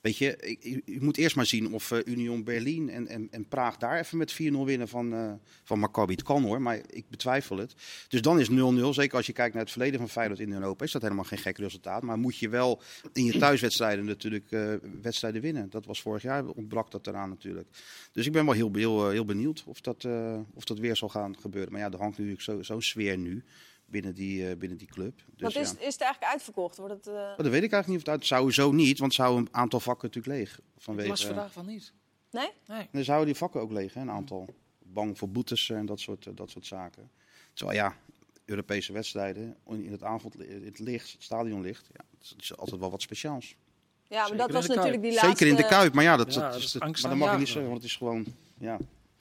C: weet je, ik, ik- ik moet eerst maar zien of eh, Union Berlin en, en, en Praag daar even met 4-0 winnen van, eh van Maccabi. Het kan hoor, maar ik betwijfel het. Dus dan is 0-0, zeker als je kijkt naar het verleden van Feyenoord in Europa, is dat helemaal geen gek resultaat. Maar moet je wel in je thuiswedstrijden natuurlijk eh, wedstrijden winnen. Dat was vorig jaar, ontbrak dat eraan natuurlijk. Dus ik ben wel heel, heel, eh, heel benieuwd of dat, eh, of dat weer zal gaan gebeuren. Maar ja, er hangt natuurlijk zo- zo'n sfeer nu. binnen die, eh, binnen die club. Dus,
A: Want is,
C: ja.
A: is het eigenlijk uitverkocht? Wordt het, eh,
C: Maar Oh, dat weet ik eigenlijk niet of het uit zou zo niet, want zou een aantal vakken natuurlijk leeg vanwege.
D: Ik las vandaag van niet.
A: Nee?
D: Nee.
C: En dan zouden die vakken ook leeg, hè, een aantal. Bang voor boetes en dat soort, eh, dat soort zaken. Terwijl ja, Europese wedstrijden in in het avond, in het licht, het stadionlicht, ja, het is altijd wel wat speciaals.
A: Ja, maar dat
D: in
A: was
D: de Kuip.
A: natuurlijk die laatste...
C: Zeker in de Kuip, maar ja, dat,
D: Ja,
C: dat
D: dat
C: is
D: is
C: het-
D: angst
C: maar
D: aan
C: dat mag je
D: jagen.
C: niet zeggen, want het is gewoon, ja,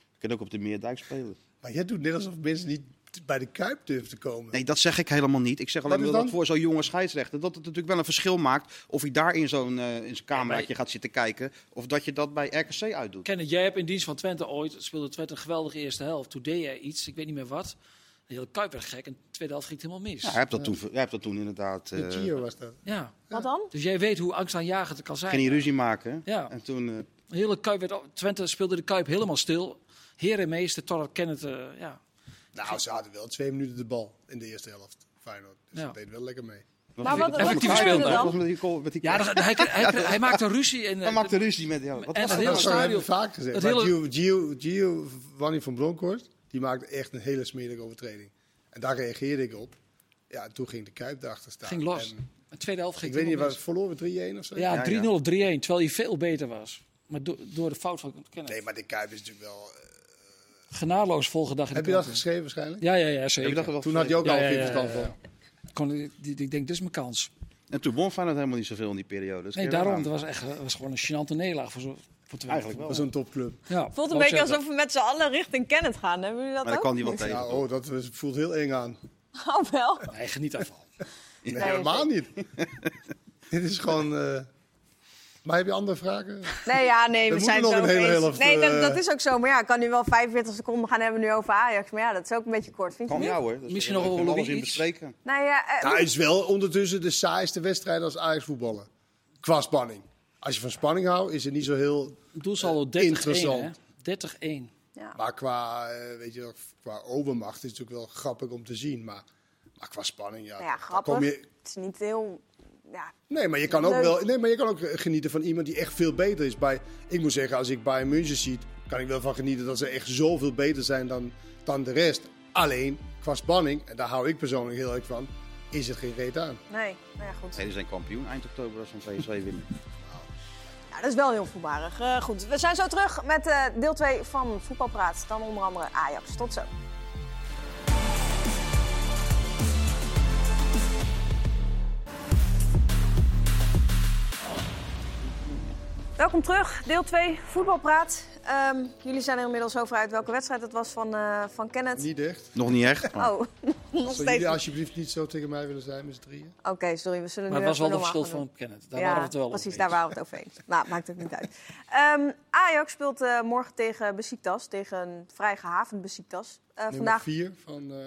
C: je kunt ook op de Meerdijk spelen.
B: Maar jij doet net alsof mensen niet bij de Kuip durven te komen.
C: Nee, dat zeg ik helemaal niet. Ik zeg
B: Wat
C: alleen
B: is
C: maar dat
B: dan?
C: voor zo'n jonge scheidsrechter, dat het natuurlijk wel een verschil maakt of hij daar in zo'n eh, in zo'n cameraatje gaat zitten kijken, of dat je dat bij RKC uitdoet.
D: Kenneth, jij hebt in dienst van Twente ooit, speelde Twente een geweldige eerste helft. Toen deed jij iets, ik weet niet meer wat. De hele Kuip werd gek en de tweede helft ging het helemaal mis.
C: Ja, hij,
D: Ja.
C: hebt dat toen, hij heeft dat toen inderdaad. eh,
B: De Giro was dat.
A: Wat dan?
D: Dus jij weet hoe angstaanjagend het kan zijn.
C: ging hij ruzie maken.
D: Ja.
C: En toen. eh,
D: De hele Kuip werd, al- Twente speelde de Kuip helemaal stil. Heer en meester, totdat Kenneth... eh, ja.
B: Nou, ze hadden wel twee minuten de bal in de eerste helft. Feyenoord. Dus
D: Ja.
B: dat deed wel lekker mee.
A: Maar wat- wat
D: gebeurde er
A: dan?
C: was met die goal- met die-
D: ja, dan- hij,
B: *laughs*
D: hij, hij, hij maakte een ruzie. En, eh,
C: Hij maakte ruzie met jou. Wat
D: en
C: was *laughs* dat?
D: dat heel
B: Dat hebben
D: stadion.
B: we vaak gezegd.
D: Het
B: maar
D: hele-
B: Gio, Gio, Gio Wanny van Bronckhorst, die maakte echt een hele smerige overtreding. En daar reageerde ik op. Ja, en toen ging de Kuip erachter staan.
D: ging los.
B: En
D: de tweede helft
B: ik
D: ging
B: weet
D: het
B: niet,
D: helemaal
B: wat, verloren we 3-1 of zo?
D: mis. Ja,
C: Ja,
D: 3-0 of 3-1, terwijl hij veel beter was. Maar do- door de fout van Kenneth.
B: Nee, maar de Kuip is natuurlijk wel... eh,
D: Genadeloos volgedag. in de
B: heb je dat
D: kant.
B: geschreven waarschijnlijk?
D: Ja, ja, ja, zeker.
C: Ik dacht dat wel
B: Toen had je ook
D: Ja,
B: al
D: ja,
B: geen
D: ja,
B: verstand
D: ja,
B: van.
D: ja. Kon, die, die- ik denk, dit is mijn kans.
C: En toen won Feyenoord helemaal niet zoveel in die periode. Dus
D: Nee,
C: kun je
D: daarom.
C: wel
D: Dat was, echt, eh, was gewoon een gênante nederlaag voor, zo, voor Twente.
C: Eigenlijk wel.
B: Van zo'n topclub.
D: Ja,
A: Het voelt een
D: wou ik
A: beetje
D: zeggen.
A: alsof we met z'n allen richting Kenneth gaan. Hebben jullie dat
C: Maar daar
A: ook?
C: kwam hij wel tegen.
B: Ja, oh, dat is- voelt heel eng aan.
A: *laughs* Oh, wel.
D: Nee, geniet
B: *laughs*
D: daarvan.
B: Nee,
A: Nee,
B: helemaal niet. *laughs* Dit is gewoon... eh, Maar heb je andere vragen?
A: Nee, ja, nee, we,
B: moeten
A: zijn
B: nog
A: het
B: een
A: ook
B: hele
A: eens.
B: helft,
A: Nee, dat,
B: eh,
A: dat is ook zo. Maar ja, ik kan nu wel 45 seconden gaan hebben nu over Ajax. Maar ja, dat is ook een beetje kort, vind je
C: Kan
A: niet?
C: jou hoor. Dus
D: Misschien
C: we
D: nog wel
C: kunnen alles
D: Louis
C: in
D: iets.
C: bespreken.
A: Nou ja, eh,
B: Nou, is wel ondertussen de saaiste wedstrijd als Ajax voetballen. Qua spanning. Als je van spanning houdt, is het niet zo heel...
D: Doelsaldo 30-1. hè?
B: Interessant.
D: 30-1.
A: ja.
B: Maar qua, eh, weet je, wel, qua overmacht is het natuurlijk wel grappig om te zien. Maar, maar qua spanning, ja.
A: Nou ja,
B: dan
A: grappig.
B: kom je-
A: Het is niet heel... Ja,
B: nee, maar je kan ook
A: Leuk.
B: wel, nee, maar je kan ook genieten van iemand die echt veel beter is. Bij, ik moet zeggen, als ik Bayern München zie, kan ik wel van genieten dat ze echt zoveel beter zijn dan, dan de rest. Alleen, qua spanning, en daar hou ik persoonlijk heel erg van, is het geen reet aan.
A: nee. Nou ja, goed.
C: Hey, die zijn kampioen eind oktober als ze van PSV winnen.
A: Ja, dat is wel heel voelbarig. Eh, goed, we zijn zo terug met eh, deel 2 van Voetbalpraat. Dan onder andere Ajax. Tot zo. Welkom terug, deel 2, voetbalpraat. Ehm, jullie zijn er inmiddels over uit welke wedstrijd het was van, eh, van Kenneth.
B: Niet echt.
C: *laughs* Nog niet echt. maar-
A: Oh, *laughs* nog
B: Zou
A: steeds.
B: jullie
A: niet.
B: alsjeblieft niet zo tegen mij willen zijn met z'n drieën?
A: Oké, sorry, we zullen
D: Maar
A: nu
D: het was wel
A: even
D: de
A: normaal
D: verschil
A: gaan doen.
D: van Kenneth. Daar waren we het wel
A: precies,
D: over
A: daar
D: eens.
A: waren we het over eens. nou, maakt ook niet uit. Ehm, Ajax speelt eh, morgen tegen Besiktas, tegen een vrij gehavend Besiktas. Eh,
B: Nummer
A: vandaag,
B: 4 van eh,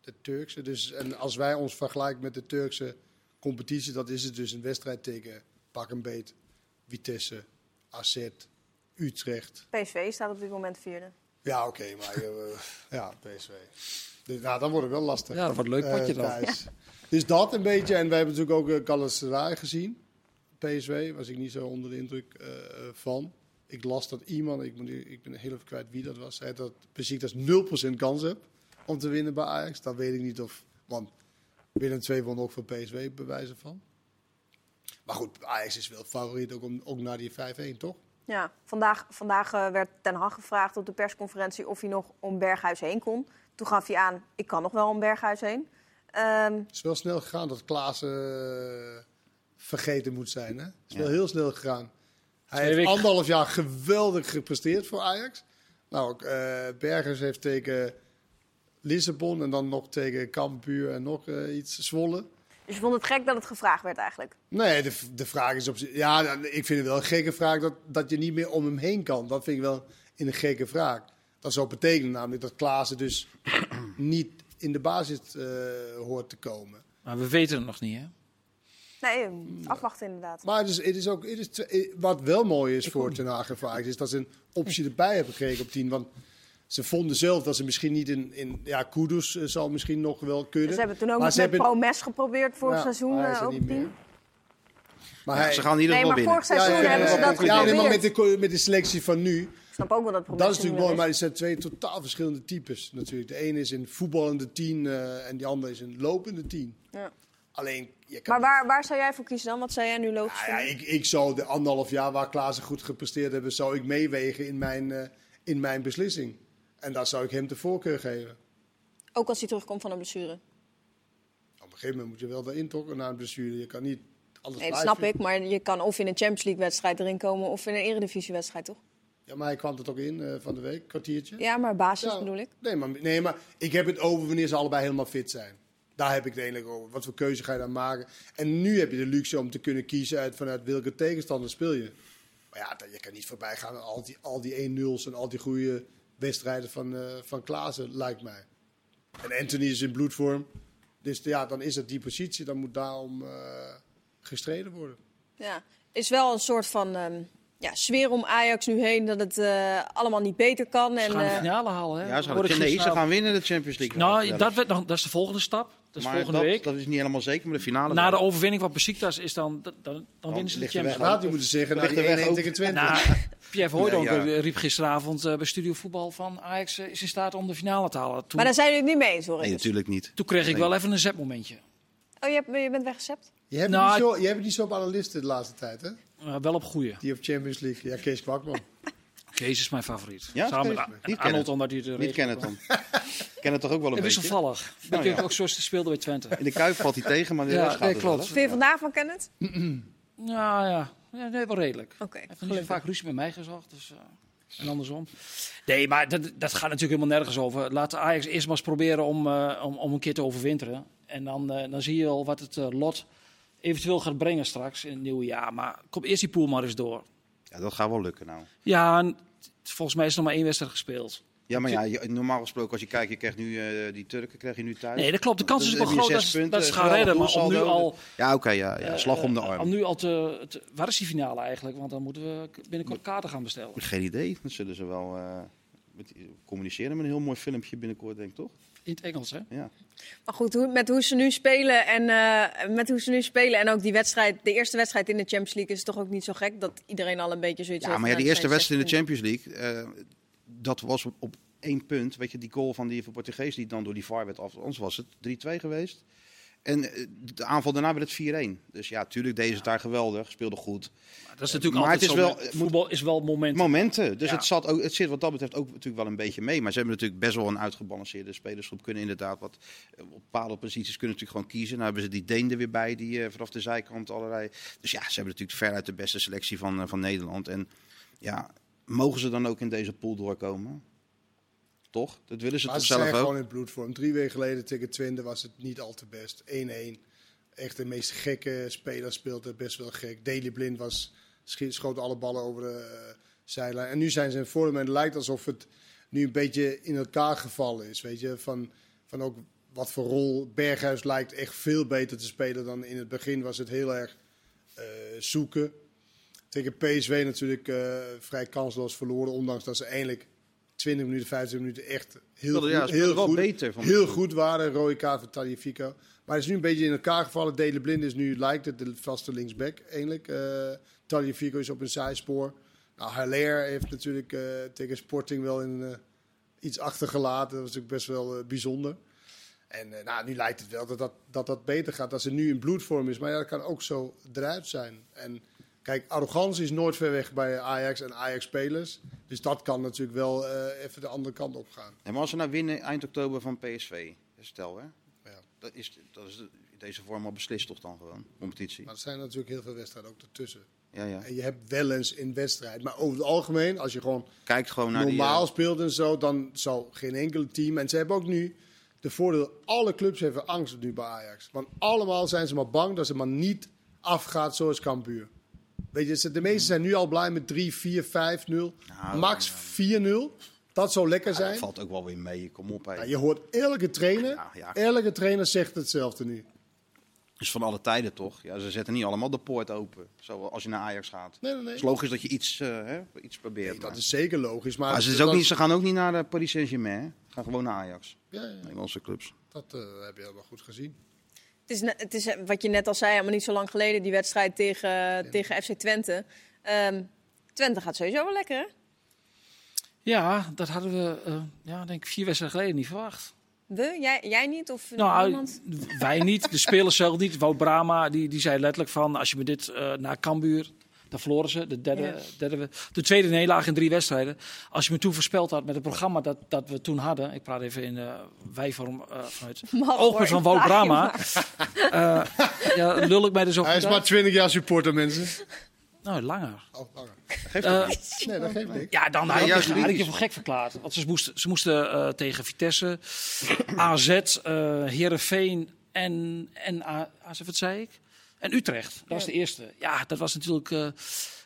B: de Turkse. Dus, en als wij ons vergelijken met de Turkse competitie, dat is het dus een wedstrijd tegen pak en beet, Vitesse, AZ, Utrecht.
A: PSV staat op dit moment vierde.
B: Ja, oké, maar eh, ja, PSV. Dus, nou, dan wordt het wel lastig.
D: Ja, dat wordt een leuk
B: Eh,
D: potje dan.
B: thuis. Dus dat een beetje. En wij hebben natuurlijk ook uh, Galatasaray gezien. PSV was ik niet zo onder de indruk eh, eh, van. Ik las dat iemand, ik, moet, ik ben heel even kwijt wie dat was, zei dat Besiktas 0% kans heb om te winnen bij Ajax. Dat weet ik niet of, want Willem 2 won ook van PSV bewijzen van. Maar goed, Ajax is wel favoriet ook, om, ook na die 5-1, toch?
A: Ja, vandaag, vandaag eh, werd Ten Hag gevraagd op de persconferentie of hij nog om Berghuis heen kon. Toen gaf hij aan, ik kan nog wel om Berghuis heen. Ehm,
B: Het is wel snel gegaan dat Klaassen eh, vergeten moet zijn. Hè? Het is wel
C: Ja.
B: heel snel gegaan. Hij
D: Twee
B: heeft
D: weken.
B: anderhalf jaar geweldig gepresteerd voor Ajax. Nou, ook, eh, Bergers heeft tegen Lissabon en dan nog tegen Cambuur en nog eh, iets Zwolle.
A: dus je vond het gek dat het gevraagd werd eigenlijk.
B: Nee, de, v- de vraag is op zich. Ja, dan- ik vind het wel een gekke vraag dat, dat je niet meer om hem heen kan. Dat vind ik wel een gekke vraag. Dat zou betekenen namelijk dat Klaassen dus *clears throat* niet in de basis eh, hoort te komen.
D: Maar we weten het nog niet, hè?
A: Nee, afwachten inderdaad.
B: Maar het is, het is ook, het is, twe- eh, wat wel mooi is voor Ten Hag en voor Ajax, is dat ze een optie erbij hebben gekregen op 10. Want ze vonden zelf dat ze misschien niet in... in ja, Kudus eh, zal misschien nog wel kunnen.
A: Ze hebben toen ook
B: maar
A: nog
B: ze
A: met
B: hebben-
A: Promes geprobeerd vorig
B: Ja,
A: seizoen.
B: maar hij is
A: eh,
B: er
A: ook
B: niet meer.
A: tien.
B: Maar
C: Ja,
B: hij,
C: ze gaan in ieder
A: Nee,
C: geval
A: maar vorig
C: winnen.
A: seizoen
C: ja,
A: hebben ze
C: ja,
A: dat
C: ja, ja,
B: nee,
A: geprobeerd.
B: maar met de, co- met de selectie van nu
A: snap ook wel dat probleem.
B: Dat is natuurlijk mooi, maar het zijn twee totaal verschillende types natuurlijk. De ene is een voetballende tien eh, en die andere is een lopende tien.
A: Ja.
B: Alleen, je kan
A: Maar waar, waar zou jij voor kiezen dan? Wat zou jij nu logisch
B: Nou ja,
A: vinden?
B: ik, ik zou de anderhalf jaar waar Klaassen goed gepresteerd hebben, zou ik meewegen in mijn, eh, in mijn beslissing. En daar zou ik hem de voorkeur geven.
A: Ook als hij terugkomt van een blessure.
B: Op een gegeven moment moet je wel daarin tokken na een blessure. Je kan niet alles
A: Nee, dat
B: blijven.
A: snap ik. Maar je kan of in een Champions League wedstrijd erin komen of in een eredivisiewedstrijd, toch?
B: Ja, maar hij kwam er toch in eh, van de week, kwartiertje.
A: Ja, maar basis
B: Ja,
A: bedoel ik.
B: Nee maar, nee, maar ik heb het over wanneer ze allebei helemaal fit zijn. Daar heb ik het eigenlijk over. Wat voor keuze ga je dan maken? En nu heb je de luxe om te kunnen kiezen uit vanuit welke tegenstander speel je. Maar ja, dat- je kan niet voorbij gaan aan al die, al die 1-0's en al die goede wedstrijden van, eh, van Klaassen, lijkt mij. En Anthony is in bloedvorm. Dus ja, dan is het die positie. Dan moet daarom eh, gestreden worden.
A: Ja, is wel een soort van ehm, ja, sfeer om Ajax nu heen dat het eh, allemaal niet beter kan. En,
D: Ze gaan de
A: eh,
D: finale halen, hè?
C: Ja, ze gaan,
D: Hoorde ik
C: nee, ze
D: gisteravond.
C: gaan winnen de Champions League.
D: Nou, dat, werd nog, dat is de volgende stap. Dat is
C: maar
D: volgende
C: dat,
D: week.
C: dat is niet helemaal zeker, maar de finale.
D: Na de
C: wel.
D: overwinning van Besiktas is dan, dan, dan, winnen ze de
C: ligt de
B: Dan
C: weg.
D: Champions
B: had je moeten zeggen, nou,
C: Ligt
B: die
C: de weg
B: 1
C: ook-
B: tegen 20.
D: Nou, Pierre Hooydonk
C: Nee, ja.
D: riep gisteravond eh, bij Studio Voetbal van Ajax eh, is in staat om de finale te halen. Toen,
A: Maar daar zijn jullie het niet mee eens, hoor.
C: Nee,
A: ik.
C: natuurlijk niet.
D: toen kreeg ik
C: Nee.
D: wel even een zetmomentje.
A: oh, je, hebt, je bent weggecept?
B: Je hebt,
D: Nou,
B: het niet zo, je hebt het niet zo op analisten de laatste tijd, hè?
D: Eh, wel op goede.
B: Die op Champions League. Ja, Kees Kwakman.
D: Kees is mijn favoriet.
C: Ja,
D: Samen
C: Kees?
D: met
C: Niet
D: niet Arnold,
C: kennen.
D: omdat hij de
C: Niet kennen
D: *laughs*
C: dan. kennen toch ook wel een
D: En
C: beetje.
D: wisselvallig.
C: Nou
D: Natuurlijk
C: ja.
D: ook zoals ze speelde bij Twente.
C: In de kuif valt hij tegen, maar de
D: Ja,
C: rest gaat
D: nee,
C: het wel,
D: klopt.
C: hè?
A: Vind je vandaag van Kenneth?
D: Nou ja, ja, nee, wel redelijk. Hij
A: Oké,
D: heeft nog niet zo vaak ruzie met mij gezocht. Dus, eh, en andersom. Nee, maar dat, dat gaat natuurlijk helemaal nergens over. Laat Ajax eerst maar eens proberen om, eh, om, om een keer te overwinteren. En dan, eh, dan zie je al wat het eh, lot eventueel gaat brengen straks in het nieuwe jaar. Maar kom eerst die pool maar eens door.
C: Ja, dat gaat wel lukken nou.
D: Ja, en t- volgens mij is er nog maar één wedstrijd gespeeld.
C: Ja, maar ja, je- normaal gesproken als je kijkt, je krijgt nu eh, die Turken krijg je nu thuis.
D: Nee, dat klopt. De kans
C: Dus
D: is wel
C: heb je
D: groot dat,
C: zes
D: ze-
C: punten,
D: dat ze gaan
C: geweldig
D: redden. Maar om nu
C: doelsaldo.
D: al...
C: Ja, oké, ja, ja, slag om de
D: eh,
C: arm.
D: Om nu al te, te- Waar is die finale eigenlijk? Want dan moeten we k- binnenkort kaarten gaan bestellen.
C: Geen idee. Dan zullen ze wel eh, met- communiceren met een heel mooi filmpje binnenkort, denk ik toch?
D: In het Engels, hè?
C: Ja.
A: Maar goed, hoe, met, hoe ze nu spelen en, eh, met hoe ze nu spelen en ook die wedstrijd, de eerste wedstrijd in de Champions League, is het toch ook niet zo gek dat iedereen al een beetje zoiets
C: Ja,
A: heeft
C: maar ja,
A: van,
C: die
A: nou,
C: eerste
A: het
C: wedstrijd in de
A: zijn
C: Champions League, eh, dat was op, op één punt. Weet je, die goal van die Portugees die dan door die VAR werd af. Anders was het 3-2 geweest. En eh, de aanval daarna werd het 4-1. Dus ja, tuurlijk deden ze het daar geweldig, speelden goed.
D: Maar dat is natuurlijk
C: Maar
D: altijd
C: het is
D: zo.
C: wel-
D: met-
C: het moet-
D: voetbal is wel moment.
C: Momenten. Dus
D: Ja.
C: het, zat ook, het zit wat dat betreft ook natuurlijk wel een beetje mee. Maar ze hebben natuurlijk best wel een uitgebalanceerde spelersgroep. Kunnen inderdaad wat eh, op bepaalde posities kunnen natuurlijk gewoon kiezen. Nou hebben ze die Deen er weer bij, die eh, vanaf de zijkant allerlei. Dus ja, ze hebben natuurlijk veruit de beste selectie van, eh, van Nederland. En ja, mogen ze dan ook in deze pool doorkomen? Toch? Dat willen ze
B: Maar
C: toch
B: ze zijn
C: zelf ook?
B: gewoon in bloedvorm. Drie weken geleden tegen Twente was het niet al te best. 1-1. Echt de meest gekke speler speelde best wel gek. Daily Blind was, schi- schoot alle ballen over de eh, zijlijn. En nu zijn ze in vorm en het lijkt alsof het nu een beetje in elkaar gevallen is. Weet je, van, van ook wat voor rol. Berghuis lijkt echt veel beter te spelen dan in het begin was het heel erg eh, zoeken. Tegen PSW natuurlijk eh, vrij kansloos verloren. Ondanks dat ze eindelijk 20 minuten, 25 minuten echt heel
C: Speelden, ja,
B: goed,
C: speelden
B: heel
C: wel
B: goed,
C: beter van
B: heel
C: tevoren.
B: goed waren. Rode kaart van Taliafico. Maar het is nu een beetje in elkaar gevallen. Dele Blind is nu, lijkt het, de vaste linksback eigenlijk. Eh Taliafico is op een zijspoor. Nou, Haller heeft natuurlijk eh, tegen Sporting wel in, eh, iets achtergelaten. Dat was natuurlijk best wel eh, bijzonder. En eh, nou, nu lijkt het wel dat dat, dat dat beter gaat. Dat ze nu in bloedvorm is. Maar ja, dat kan ook zo eruit zijn. En kijk, arrogantie is nooit ver weg bij Ajax en Ajax-spelers. Dus dat kan natuurlijk wel eh, even de andere kant op gaan.
C: Ja, maar als ze nou winnen eind oktober van PSV, stel hè.
B: Ja.
C: Dat is, dat is in deze vorm al beslist toch dan gewoon, competitie.
B: Maar er zijn natuurlijk heel veel wedstrijden ook ertussen.
C: Ja, ja.
B: En je hebt wel eens in wedstrijd. Maar over het algemeen, als je gewoon
C: Kijk gewoon naar die... eh,
B: normaal speelt en zo, dan zou geen enkel team. En ze hebben ook nu de voordeel, alle clubs hebben angst nu bij Ajax. Want allemaal zijn ze maar bang dat ze maar niet afgaat zoals Cambuur. Weet je, ze- de meesten zijn nu al blij met 3, 4, 5, 0.
C: Mm. Nou,
B: max 4-0. Dat zou lekker
C: Ja,
B: zijn.
C: dat valt ook wel weer mee. Kom op, hè.
B: Ja, je hoort elke trainer,
C: Ja, ja.
B: elke trainer zegt hetzelfde nu.
C: is van alle tijden toch? Ja, ze zetten niet allemaal de poort open. Zo als je naar Ajax gaat.
B: Nee, nee, nee.
C: Het is logisch dat je iets, eh, hè, iets probeert.
B: Nee, dat
C: maar-
B: is zeker logisch. Maar,
C: maar ze, is ook niet, ze gaan ook niet naar eh, Paris Saint-Germain. hè. Ze gaan gewoon naar Ajax.
B: Ja, ja,
C: Nederlandse clubs.
B: dat eh, heb je helemaal goed gezien.
A: Het is, ne- het is eh, wat je net al zei, helemaal niet zo lang geleden, die wedstrijd tegen, tegen FC Twente. Ehm, Twente gaat sowieso wel lekker, hè?
D: Ja, dat hadden we eh, ja, denk ik vier wedstrijden geleden niet verwacht.
A: We? Jij, jij niet? Of
D: Nou,
A: niemand?
D: *laughs* wij niet, de spelers zelf niet. Wout Brama die, die zei letterlijk van, als je met dit eh, naar Cambuur... Daar verloren ze, de, derde,
A: Ja.
D: derde, we- de tweede nederlaag in drie wedstrijden. Als je me toen voorspeld had met het programma dat, dat we toen hadden... Ik praat even in eh wij-vorm eh,
A: *laughs*
D: vanuit
A: Mag hoor,
D: oogpunt van Wout
A: ik vraag je
D: Brama.
A: maar.
D: Eh, ja, lul ik mij dus ook
B: Hij is
D: goed
B: maar
D: uit?
B: 20 jaar supporter, *laughs* mensen.
D: Nou, langer.
B: Oh, oh.
C: Geeft
D: Eh,
C: dat niet.
B: Nee, dat geeft niks.
D: Ja, dan
C: Nee,
D: had,
C: juist
D: ik, had ik je
C: niet.
D: voor gek verklaard. Want ze moesten, ze moesten eh, tegen Vitesse, AZ, eh Heerenveen en, en A- AZ, wat zei ik? En Utrecht, dat was de eerste. Ja, dat was natuurlijk eh,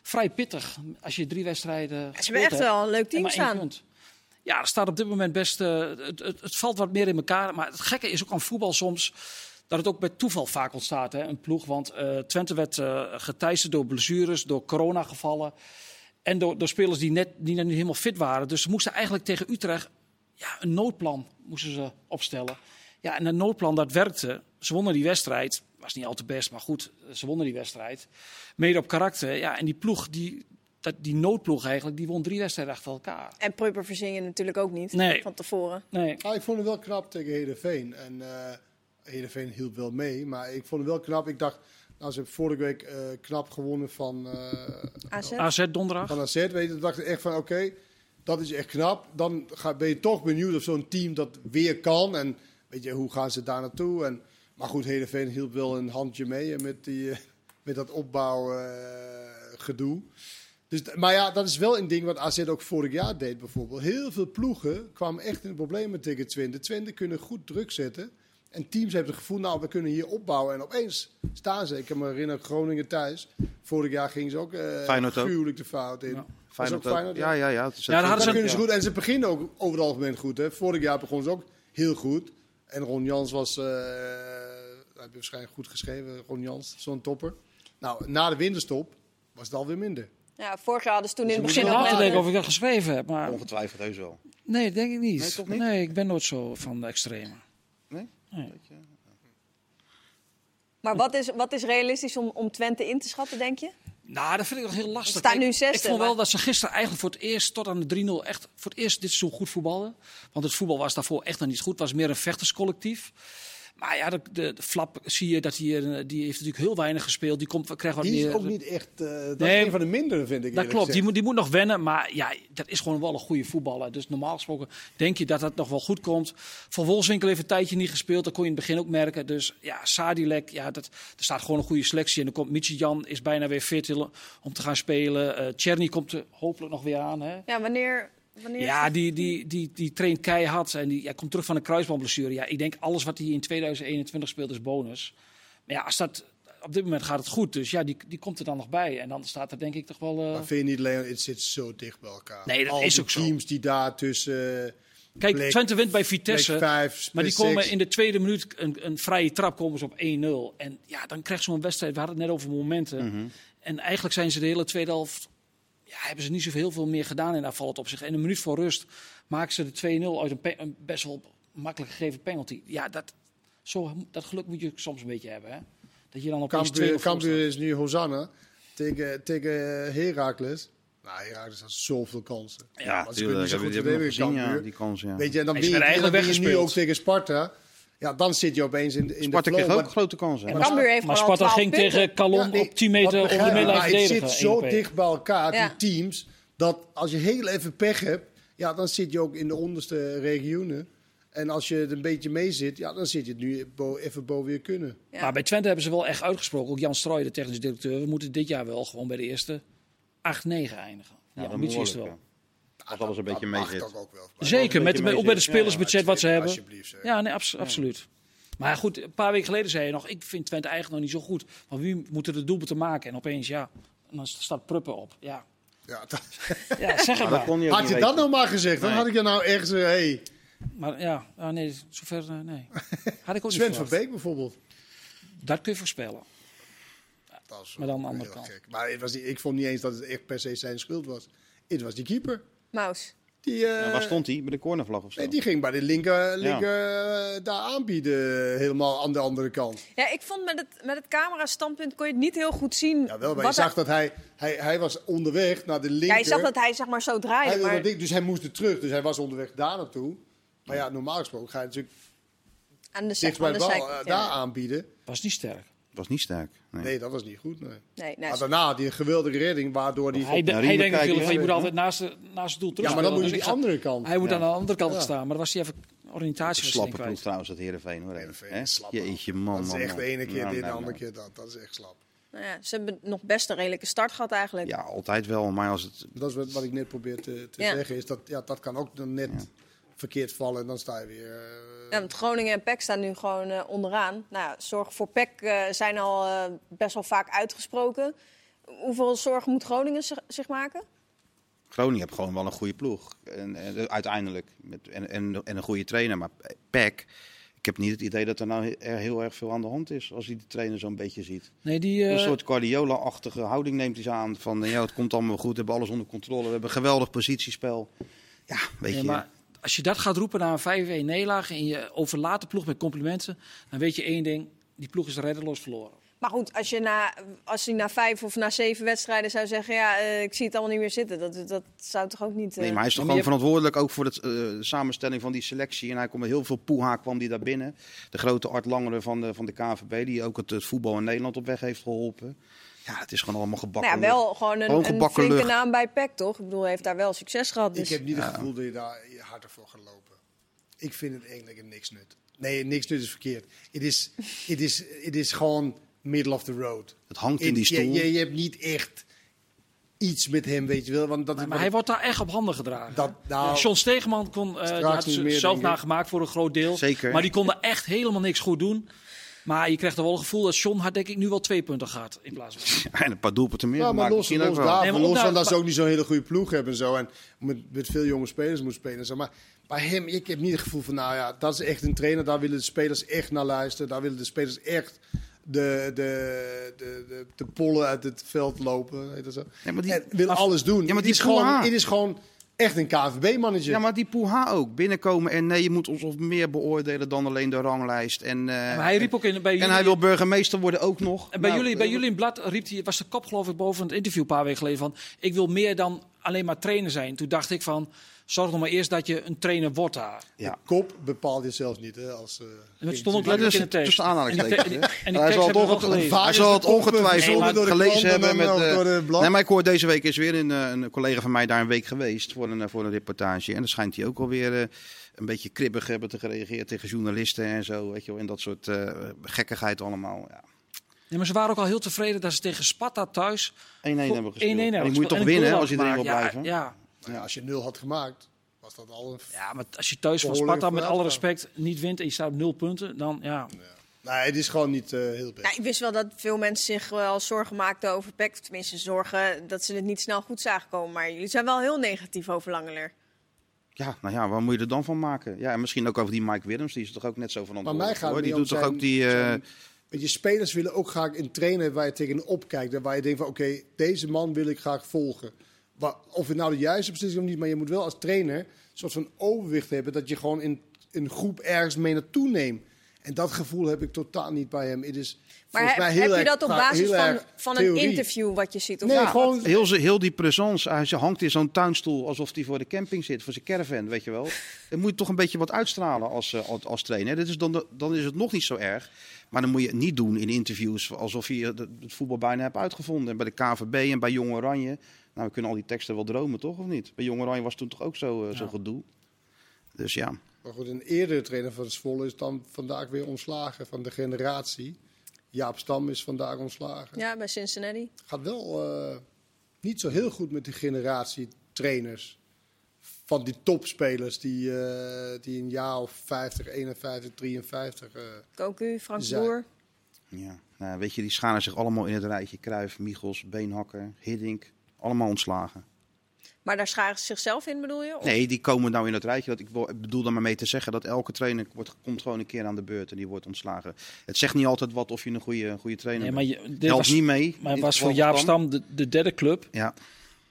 D: vrij pittig als je drie wedstrijden
A: Ze hebben echt
D: gespeeld hebt
A: wel een leuk
D: en
A: team
D: maar één
A: staan.
D: punt. Ja, er staat op dit moment best. eh, het, het, het valt wat meer in elkaar. Maar het gekke is ook aan voetbal soms. Dat het ook bij toeval vaak ontstaat, hè, een ploeg. Want eh, Twente werd eh geteisterd door blessures, door coronagevallen. En door, door spelers die net die nog niet helemaal fit waren. Dus ze moesten eigenlijk tegen Utrecht ja, een noodplan moesten ze opstellen. Ja, en dat noodplan dat werkte. Ze wonnen die wedstrijd. Was niet al te best, maar goed, ze wonnen die wedstrijd. Mede op karakter. Ja, en die ploeg, die, dat, die noodploeg eigenlijk, die won drie wedstrijden achter elkaar.
A: En Prupper verzingen natuurlijk ook niet.
D: Nee.
A: Van tevoren.
D: Nee.
B: Ah, ik vond hem wel knap tegen Heerenveen. En eh Heerenveen hielp wel mee, maar ik vond hem wel knap. Ik dacht, nou, ze hebben vorige week eh, knap gewonnen van, eh
A: AZ.
D: AZ donderdag.
B: van AZ. Weet je, toen dacht ik echt van, oké, dat is echt knap. Dan ga, ben je toch benieuwd of zo'n team dat weer kan. En weet je, hoe gaan ze daar naartoe? En, maar goed, Heerenveen hielp wel een handje mee eh, met, die, eh, met dat eh, opbouwgedoe. dus, d- maar ja, dat is wel een ding wat AZ ook vorig jaar deed bijvoorbeeld. Heel veel ploegen kwamen echt in de problemen tegen Twente. Twente kunnen goed druk zetten. En teams hebben het gevoel, nou, we kunnen hier opbouwen. En opeens staan ze. Ik kan me herinneren, Groningen thuis. Vorig jaar gingen ze ook eh
C: Feyenoord ook.
B: gruwelijk de fout in.
D: Ja.
B: Was ook
C: Feyenoord ook.
B: Feyenoord,
C: Ja, ja, ja. het is
D: Ja, daar
C: echt-
D: hadden
B: dan
D: ze-
B: kunnen ze
D: ja.
B: goed. En ze beginnen ook over het algemeen goed. Hè. Vorig jaar begonnen ze ook heel goed. En Ron Jans was, eh heb je waarschijnlijk goed geschreven, Ron Jans, zo'n topper. Nou, na de winterstop was het alweer minder.
A: Ja, vorig jaar hadden ze toen in het
D: Ik
A: begin
D: zit
A: nog
D: na te
A: net,
D: denken
A: eh,
D: of ik dat geschreven heb, maar
C: Ongetwijfeld heus wel.
D: nee, denk ik niet.
C: Nee, toch niet?
D: ik ben nooit zo van de extreme.
C: Nee?
D: Nee.
A: Maar wat is, wat is realistisch om, om Twente in te schatten, denk je?
D: Nou, dat vind ik nog heel lastig.
A: Ze staan
D: Ik-
A: nu
D: Ik
A: zesde,
D: vond wel
A: maar-
D: dat ze gisteren eigenlijk voor het eerst tot aan de 3-0 echt voor het eerst dit seizoen goed voetbalden. Want het voetbal was daarvoor echt nog niet goed. Het was meer een vechterscollectief. Maar ja, de, de, de flap zie je dat hij, eh, die heeft natuurlijk heel weinig gespeeld. Die komt, krijgt wat
B: Die
D: meer.
B: is ook niet echt, eh, dat
D: Nee,
B: is een van de mindere, vind ik.
D: Dat
B: eerlijk
D: klopt, die
B: gezegd.
D: moet, die moet nog wennen. Maar ja, dat is gewoon wel een goede voetballer. Dus normaal gesproken denk je dat dat nog wel goed komt. Van Wolfswinkel heeft een tijdje niet gespeeld. Dat kon je in het begin ook merken. Dus ja, Sadilek, ja, dat, er staat gewoon een goede selectie. En dan komt Michijan, is bijna weer fit om te gaan spelen. Eh Tjerni komt er hopelijk nog weer aan. Hè?
A: Ja, wanneer... wanneer
D: Ja, die, die, die, die traint keihard en die, hij komt terug van een kruisbandblessure. Ja, ik denk alles wat hij in 2021 speelt is bonus. Maar ja, als dat, op dit moment gaat het goed. Dus ja, die, die komt er dan nog bij. En dan staat er denk ik toch wel... eh,
B: Maar vind je niet, Leon, het zit zo dicht bij elkaar.
D: Nee, dat
B: Al
D: is
B: die
D: ook zo.
B: teams die daar tussen eh,
D: Kijk,
B: plek-
D: Twente wint bij
B: plek
D: Vitesse.
B: 5,
D: Maar die komen in de tweede minuut een, een vrije trap komen ze op 1-0. En ja, dan krijgt zo'n wedstrijd. We hadden het net over momenten.
B: Mhm.
D: En eigenlijk zijn ze de hele tweede helft. Ja, hebben ze niet zoveel heel veel meer gedaan in aanvallend opzicht. En een minuut voor rust maken ze de 2-0 uit een, pe- een best wel makkelijk gegeven penalty. Ja, dat, zo, dat geluk moet je soms een beetje hebben. Hè? Dat je dan op
B: Cambuur, Cambuur is nu Hosanna tegen, tegen Herakles. Nou, Herakles had zoveel kansen.
C: Ja,
B: Maar ze kunnen
C: tuurlijk.
B: niet zo
C: Heb je
B: goed
C: die hebben we nog
B: verdedigen,
C: gezien, ja,
B: Cambuur.
C: die kans, ja.
B: Weet je, en dan
D: En
B: ben
D: ze
B: je,
D: werden
B: en dan ben je
D: eigenlijk
B: nu ook tegen
D: weggespeeld.
B: Sparta. Ja, dan zit je opeens in, de- in de
C: Sparta
B: flow.
C: kreeg ook
B: maar-
C: grote kansen.
A: En Cambuur heeft
D: maar
A: gewoon al 12
D: Sparta ging
A: punten.
D: tegen Calon
B: Ja,
D: op
B: ik-
D: 10
B: dat
D: meter onder
B: begrijp ik,
D: de middenlijn
B: Maar het
D: verdedigen.
B: zit zo
D: 1 op 1.
B: dicht bij elkaar,
A: Ja.
B: die teams, dat als je heel even pech hebt, ja, dan zit je ook in de onderste regionen. En als je het een beetje mee zit, ja, dan zit je het nu bo- even boven je kunnen.
A: Ja.
D: Maar bij Twente hebben ze wel echt uitgesproken. Ook Jan Strooij, de technisch directeur. We moeten dit jaar wel gewoon bij de eerste 8-9 eindigen. Ja, ambitie is er wel.
C: Als alles een beetje mee
B: mag
C: zit.
B: toch ook wel.
D: Zeker, met,
C: beetje
D: met,
C: mee
D: ook bij de
C: zit.
D: spelersbudget Dus wat ze hebben.
B: Alsjeblieft, zeg.
D: Ja, nee, abs- absoluut. Maar goed, een paar weken geleden zei je nog... ik vind Twente eigenlijk nog niet zo goed. Want wie moeten de doelpunten maken? En opeens, ja, en dan staat Pruppen op. Ja,
B: Ja, dat-
D: ja zeg het
C: Maar dat
D: maar.
C: kon hij ook
B: had
C: niet
B: je dat
C: weten.
B: nou maar gezegd, dan
C: Nee.
B: had ik je nou echt... eh, hey,
D: Maar ja, ah, nee, zover eh, nee. Had ik ook niet
B: Sven van
D: verwacht.
B: Beek bijvoorbeeld.
D: Dat kun je voorspellen.
B: Dat is
D: Maar dan aan
B: heel
D: de andere kant.
B: gek. Maar het was, niet- ik vond niet eens dat het echt per se zijn schuld was. Het was die keeper.
A: Maus.
B: Die, eh,
C: Ja, waar stond hij? Bij de cornervlag of zo?
B: Nee, die ging bij de linker, linker eh, daar aanbieden, helemaal aan de andere kant.
A: Ja, ik vond met het, met het camera-standpunt kon je het niet heel goed zien.
B: Ja, wel, maar je
A: wat
B: zag
A: hij-
B: dat hij, hij, hij was onderweg naar de linker.
A: ja, je zag dat hij zeg maar zo
B: Hij
A: draaide.
B: wilde
A: Maar
B: dat ding, dus hij moest er terug, dus hij was onderweg daar naartoe. Maar ja, normaal gesproken ga je natuurlijk
A: aan de, zij-
B: dicht bij
A: aan
B: de
A: de
B: bal
A: zijkant.
B: eh,
A: ja.
B: daar aanbieden.
D: Was niet sterk.
C: was niet sterk. Nee.
B: Nee, dat was niet goed. Nee.
A: Nee, nee,
C: Ah,
B: Maar daarna had hij een geweldige redding, waardoor hij...
D: Hij, de-
C: naar
D: hij
C: Riemen kijken,
D: denkt natuurlijk van je
C: hè?
D: moet altijd naast, de- naast het doel terug.
B: ja, maar dan moet je
D: spelen.
B: die
D: Dus ik
B: andere kant.
D: ga- Hij moet
C: Ja.
D: aan de andere kant
B: Ja.
D: gaan staan. Maar dan was hij even oriëntatie was hij
C: Slappe
D: niet
C: ploeg
D: kwijt.
C: trouwens, dat Heerenveen hoor.
B: Heerenveen,
C: Hè?
B: slappe.
C: Jeetje man,
B: Dat is
C: man,
B: echt
C: man.
B: de ene keer
C: Nou,
B: dit, de
C: nou,
B: andere
C: nou.
B: keer dat. Dat is echt slap.
A: Nou ja, ze hebben nog best een redelijke start gehad eigenlijk.
C: Ja, altijd wel. Maar als het
B: Dat is wat, wat ik net probeer te, te
A: Ja.
B: zeggen. Is dat, ja, dat kan ook dan net verkeerd vallen en dan sta je weer... eh,
A: Ja, want Groningen en PEC staan nu gewoon eh, onderaan. Nou, ja, zorg voor PEC eh, zijn al eh, best wel vaak uitgesproken. Hoeveel zorgen moet Groningen zich, zich maken?
C: Groningen heeft gewoon wel een goede ploeg. En, en- uiteindelijk. Met, en, en, en een goede trainer. Maar Peck, ik heb niet het idee dat er nou he- er heel erg veel aan de hand is. Als je de trainer zo'n beetje ziet.
D: Nee, die, eh,
C: Een soort Guardiola-achtige houding neemt hij ze aan. Van ja, het komt allemaal goed. We hebben alles onder controle. We hebben een geweldig positiespel. Ja, weet
D: nee,
C: je.
D: maar als je dat gaat roepen na een 5-1 nederlaag en je overlaat de ploeg met complimenten, dan weet je één ding: die ploeg is reddeloos verloren.
A: Maar goed, als je na, als je na vijf of na zeven wedstrijden zou zeggen... ja, eh, ik zie het allemaal niet meer zitten. Dat, dat zou toch ook niet... eh,
C: Nee, maar hij is toch
D: maar
C: gewoon
D: je
C: verantwoordelijk ook voor het, eh, de samenstelling van die selectie. En hij kwam met heel veel poeha kwam die daar binnen. De grote Art Langere van de, van de KVB, die ook het, het voetbal in Nederland op weg heeft geholpen. Ja, het is gewoon allemaal gebakken.
A: Nou ja, wel gewoon een,
C: Gewoon
A: een
C: gebakken
A: flinke
C: lucht.
A: naam bij PEC, toch? Ik bedoel, hij heeft daar wel succes gehad.
B: Ik
A: Dus...
B: heb niet het gevoel dat je daar harder voor gaat lopen. Ik vind het eigenlijk een niks nut. Nee, niks nut is verkeerd. Het is, het is, het is gewoon middle of the road.
C: Het hangt in die
B: Je-
C: stoel.
B: Je, je hebt niet echt iets met hem, weet je wel. Want dat,
D: Maar, maar hij wordt daar echt op handen gedragen.
B: Dat- nou,
D: Eh, John Stegeman kon, eh, die had
B: niet
D: ze
B: meer,
D: zelf
B: denk ik.
D: nagemaakt voor een groot deel.
C: Zeker.
D: Maar die kon daar echt helemaal niks goed doen. Maar je krijgt er wel het gevoel dat John had denk ik nu wel twee punten gehad. In plaats van...
C: En een paar doelpunten meer.
B: Ja, maar
C: gemaakt,
B: los,
C: misschien
B: los,
C: ook wel.
B: daarvan,
D: Nee, maar
B: los
D: omdat-
B: van dat ze ook niet zo'n hele goede ploeg hebben en zo. En met, met veel jonge spelers moet spelen. en Zo. Maar bij hem, ik heb niet het gevoel van, nou ja, dat is echt een trainer. Daar willen de spelers echt naar luisteren. Daar willen de spelers echt de, de, de, de, de pollen uit het veld lopen. Heet dat zo.
C: Ja, maar die-
B: en wil
C: maar-
B: alles doen.
C: Ja, maar
B: het,
C: die
B: is gewoon,
C: Poeha.
B: het is gewoon echt een KVB-manager.
C: Ja, maar die poeha ook. Binnenkomen en nee, je moet ons of meer beoordelen dan alleen de ranglijst. En, eh,
D: Maar hij riep ook in, bij jullie...
C: en hij wil burgemeester worden ook nog.
D: En bij,
C: Nou,
D: jullie, bij
C: eh,
D: jullie in blad riep hij, was de kop geloof ik boven het interview een paar weken geleden van... ik wil meer dan alleen maar trainer zijn. Toen dacht ik van, zorg nog maar eerst dat je een trainer wordt daar.
C: Ja.
B: Kop bepaalt je zelfs niet. Hè, als, eh,
D: En dat stond ook
C: Maar
D: letterlijk
C: dat
D: in
C: is
D: de tekst.
C: tussen
D: En
C: aanhalingstekens.
D: die
C: hè? Nou,
D: te- en die
C: hij zal het
D: tekst hebben we wel
C: ongetwijfeld,
D: gelezen.
B: Vaak
C: hij
B: is
C: zal
B: de
C: het
B: kop
C: ongetwijfeld
B: verzonnen door de
C: gelezen
B: krant
C: hebben.
B: en
C: Met,
B: dan
C: eh,
B: door de blad.
C: nee, maar ik hoor deze week is weer een, eh, een collega van mij daar een week geweest voor een, eh, voor een reportage. En dan schijnt hij ook alweer eh, een beetje kribbig hebben te gereageerd tegen journalisten en zo. Weet je wel, en dat soort eh, gekkigheid allemaal. Ja. 1-1
D: Nee, maar ze waren ook al heel tevreden dat ze tegen Sparta thuis... 1-1
C: hebben we gespeeld.
D: hebben
C: En die moet je
D: gespeeld.
C: toch
D: En een goal
C: winnen hè,
D: hadden
C: als je erin wil
D: gemaakt. Ja,
C: blijven.
D: ja.
B: nou ja, als je nul had gemaakt, was dat al een...
D: Ja, maar als je thuis van
B: Behoorlijke
D: Sparta met alle
B: vooruitgang.
D: respect niet wint en je staat op nul punten, dan ja.
B: Nee, het is gewoon niet eh, heel best.
A: Nou, ik wist wel dat veel mensen zich wel zorgen maakten over PEC. Of Tenminste, zorgen dat ze het niet snel goed zagen komen. Maar jullie zijn wel heel negatief over Langeler.
C: Ja, nou ja, waar moet je er dan van maken? Ja, en misschien ook over die Mike Willems, die is toch ook net zo
B: Maar mij
C: verantwoordelijk.
B: gaat
C: hoor.
B: het
C: Die
B: niet
C: doet
B: om
C: toch
B: zijn-
C: ook die... eh,
B: zijn- Want je spelers willen ook graag een trainer waar je tegenop kijkt. En waar je denkt van, oké, deze man wil ik graag volgen. Wa- of het nou de juiste beslissing is of niet. Maar je moet wel als trainer een soort van overwicht hebben. Dat je gewoon in een groep ergens mee naartoe neemt. En dat gevoel heb ik totaal niet bij hem. Het is
A: Maar
B: volgens
A: heb,
B: mij heel
A: heb je
B: erg
A: dat op
B: pra-
A: basis
B: heel
A: van,
B: erg
A: van een
B: theorie.
A: interview wat je ziet? Of
B: Nee,
A: wat?
B: gewoon...
C: Heel, ze- heel die présence, hij ze hangt in zo'n tuinstoel alsof hij voor de camping zit, voor zijn caravan, weet je wel. Dan moet je toch een beetje wat uitstralen als, eh, als, als trainer. Dat is dan, de- dan is het nog niet zo erg. Maar dan moet je het niet doen in interviews alsof je het- het voetbal bijna hebt uitgevonden. En bij de KVB en bij Jong Oranje. Nou, we kunnen al die teksten wel dromen, toch? Of niet? Bij Jong Oranje was toen toch ook zo, eh, zo
D: Ja.
C: gedoe. Dus ja.
B: Maar goed, een eerdere trainer van Zwolle is dan vandaag weer ontslagen van de generatie. Jaap Stam is vandaag ontslagen.
A: Ja, bij Cincinnati.
B: gaat wel eh, niet zo heel goed met die generatie trainers. Van die topspelers die, eh, die een jaar of 50, 51, 53. eh,
A: Koku, Frank
B: Zij-
A: Boer.
C: ja. Nou, weet je, die scharen zich allemaal in het rijtje. Kruif, Michels, Beenhakker, Hiddink. Allemaal ontslagen.
A: Maar daar scharen ze zichzelf in, bedoel je? Of-
C: Nee, die komen nou in het rijtje. Dat ik wil- ik bedoel daar maar mee te zeggen dat elke trainer wordt, komt gewoon een keer aan de beurt en die wordt ontslagen. Het zegt niet altijd wat of je een goede, een goede trainer
D: Nee,
C: bent.
D: maar je, dit
C: Helpt
D: was,
C: niet mee.
D: maar het
C: In
D: was
C: dit
D: voor
C: geval
D: Jaap
C: dan.
D: Stam de, de derde club
C: Ja,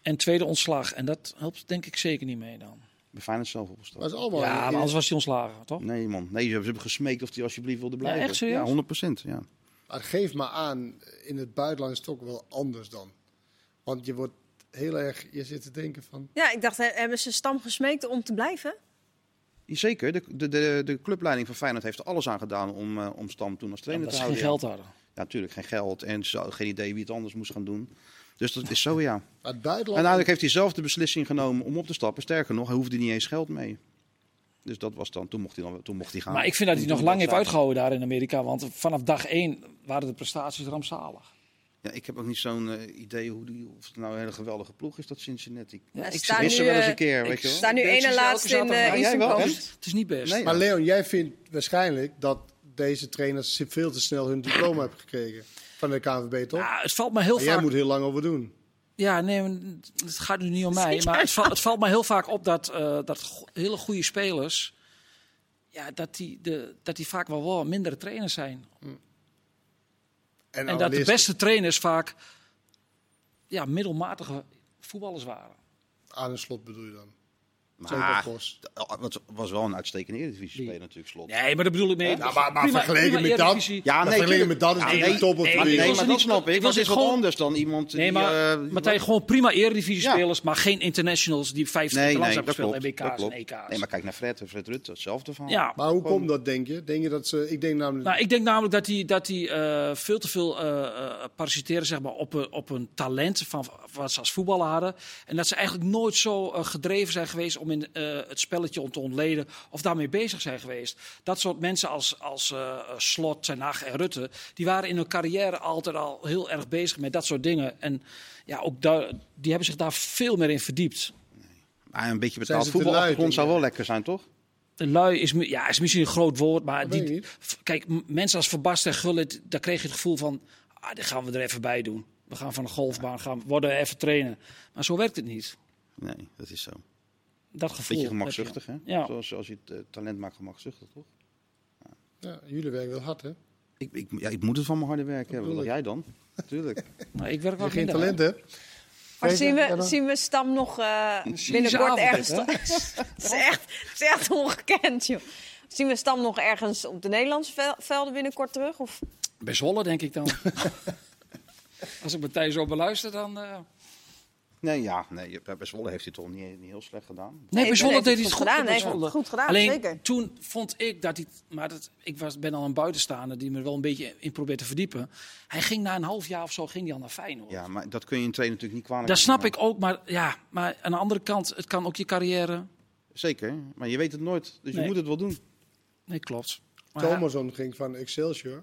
D: en tweede ontslag. En dat helpt denk ik zeker niet mee dan.
C: Bij Feyenoord zelf opgestapt.
B: Dat is allemaal.
D: Ja, maar anders was hij ontslagen, toch?
C: Nee, man. Nee, ze hebben, ze hebben gesmeekt of hij alsjeblieft wilde blijven.
D: echt serieus?
C: Ja, 100 procent. Ja.
B: Maar geef maar aan, in het buitenland is het ook wel anders dan. Want je wordt heel erg, je zit te denken van...
A: Ja, ik dacht, he- hebben ze Stam gesmeekt om te blijven?
C: Zeker. De, de, de, de clubleiding van Feyenoord heeft er alles aan gedaan om, eh, om Stam toen als trainer
D: Omdat
C: te
D: ze geen
C: houden.
D: geld hadden.
C: Ja, natuurlijk. Geen geld. En ze hadden geen idee wie het anders moest gaan doen. Dus dat is zo, ja. En nou,
B: Maar het buitenland...
C: uiteindelijk heeft hij zelf de beslissing genomen om op te stappen. Sterker nog, hij hoefde niet eens geld mee. Dus dat was dan, toen mocht hij, dan, toen mocht hij gaan.
D: Maar ik vind dat hij
C: Toen-
D: nog
C: toen
D: lang
C: dat
D: heeft
C: zaak-
D: uitgehouden daar in Amerika. Want vanaf dag één waren de prestaties rampzalig.
C: Ja, ik heb ook niet zo'n eh, idee hoe die, of het nou een hele geweldige ploeg is, dat Cincinnati.
D: Ja,
A: Hij
D: ik
A: staat
C: mis
A: nu,
C: ze wel eens
A: eh,
C: een keer,
D: ik
C: weet je wel.
A: Staan nu
D: Ik
A: één
D: zie
A: en
D: ze
A: laatste
D: elke
A: in
D: zaterdag.
A: de
D: Ja,
C: jij
A: Eastern
C: wel,
A: Coast.
C: echt?
D: Het is niet best.
C: Nee.
B: Maar Leon, jij vindt waarschijnlijk dat deze trainers veel te snel hun diploma hebben gekregen. Van de KNVB, toch?
D: Ja, het valt me heel
B: En jij
D: vaak
B: moet heel lang over doen.
D: Ja, nee, maar het gaat nu niet om mij. Maar het, val- het valt me heel vaak op dat, eh, dat go- hele goede spelers. Ja, dat, die de, dat die vaak wel, wel mindere trainers zijn. En dat de
B: analisten-
D: beste trainers vaak ja, middelmatige voetballers waren.
B: Aan een slot bedoel je dan?
C: Maar
B: Zo Bos.
C: het oh, was wel een uitstekende Eredivisie-speler natuurlijk, slot.
D: Nee, maar dat bedoel ik mee.
B: Ja, maar, maar vergeleken met dat...
D: Eredivisie.
B: Ja, nee, vergeleken met dat is
C: Ja,
B: dit
C: nee,
B: de top of
D: nee,
B: de
C: Maar nee,
D: Ik wil
B: wereld.
D: ze
C: maar
D: niet-
C: dat snap ik.
D: ik wil
C: Want
D: ze
C: het is wat
D: gewoon-
C: anders dan iemand
D: Nee,
C: die...
D: maar
C: eh,
D: Martijn, gewoon prima Eredivisie-spelers, maar geen internationals die vijf nee,
C: Nee,
D: langs
C: nee,
D: hebben
C: dat
D: gespeeld.
C: klopt.
D: En WK's
C: dat klopt.
D: en EK's.
C: Nee, maar kijk naar Fred. Fred Rutte, hetzelfde van.
D: ja.
B: Maar hoe komt dat, denk je? Denk je dat ze... Ik denk namelijk...
D: Nou, ik denk namelijk dat hij dat die, eh, veel te veel eh, eh, parasiteren zeg maar, op, een- op een talent van wat ze als voetballer hadden. En dat ze eigenlijk nooit zo eh, gedreven zijn geweest om in eh, het spelletje om te ontleden of daarmee bezig zijn geweest. Dat soort mensen als, als eh, eh, Slot, Ten Hag en Rutte, die waren in hun carrière altijd al heel erg bezig met dat soort dingen. En ja, ook daar, die hebben zich daar veel meer in verdiept.
C: Maar Ah, een beetje
B: Zijn
C: betaald
B: ze te
C: voetbal
B: lui,
C: achtergrond zou
B: denk
C: wel
B: je?
C: lekker zijn, toch?
D: De lui is, mi- ja, is misschien een groot woord, maar
B: Dat
D: die,
B: weet ik niet.
D: f- kijk, m- mensen als Verbast en Gullit, daar kreeg je het gevoel van, ah, dit gaan we er even bij doen. We gaan van de golfbaan, gaan, worden even trainen. Maar zo werkt het niet.
C: Nee, dat is zo.
D: Dat gevoel.
C: Beetje
D: heb je.
C: gemakzuchtig, hè?
D: Ja.
C: Zoals als je het eh, talent maakt, gemakzuchtig, toch?
B: Ja, jullie werken wel hard, hè?
C: Ik, ik, ja, ik moet het van mijn harde werk hebben. Wat
B: bedoel
C: jij dan? Tuurlijk.
D: Maar ik werk
B: Als
D: wel
B: je geen
D: minder,
B: talent hebt...
A: Maar
B: Weet je,
A: zien
B: ja,
A: we,
B: dan-
A: zien we Stam nog eh,
D: avond,
A: binnenkort
D: hè?
A: ergens... *laughs* Het is echt, het is echt ongekend, joh. Zien we Stam nog ergens op de Nederlandse vel- velden binnenkort terug? Of
D: hè? Bij Zwolle, denk ik dan. als ik Martijn zo beluister, dan... eh,
C: Nee, ja. Nee, bij bij Zwolle heeft hij het toch niet, niet heel slecht gedaan.
D: Nee, bij Zwolle
A: heeft
D: deed
A: het
D: hij
A: goed
D: het goed.
A: gedaan.
D: bij
A: Hij heeft het
D: Zwolle.
A: goed gedaan,
D: Alleen
A: zeker.
D: toen vond ik dat hij... Maar dat, ik was, ben al een buitenstaander die me er wel een beetje in probeert te verdiepen. Hij ging na een half jaar of zo ging hij al naar Feyenoord.
C: Ja, maar dat kun je een trainer natuurlijk niet kwalijk
D: Dat
C: nemen.
D: snap ik ook, maar, ja, maar aan de andere kant, het kan ook je carrière...
C: Zeker. Maar je weet het nooit. Dus
D: Nee.
C: je moet het wel doen.
D: Nee, klopt. Maar
B: Thomason ging van Excelsior.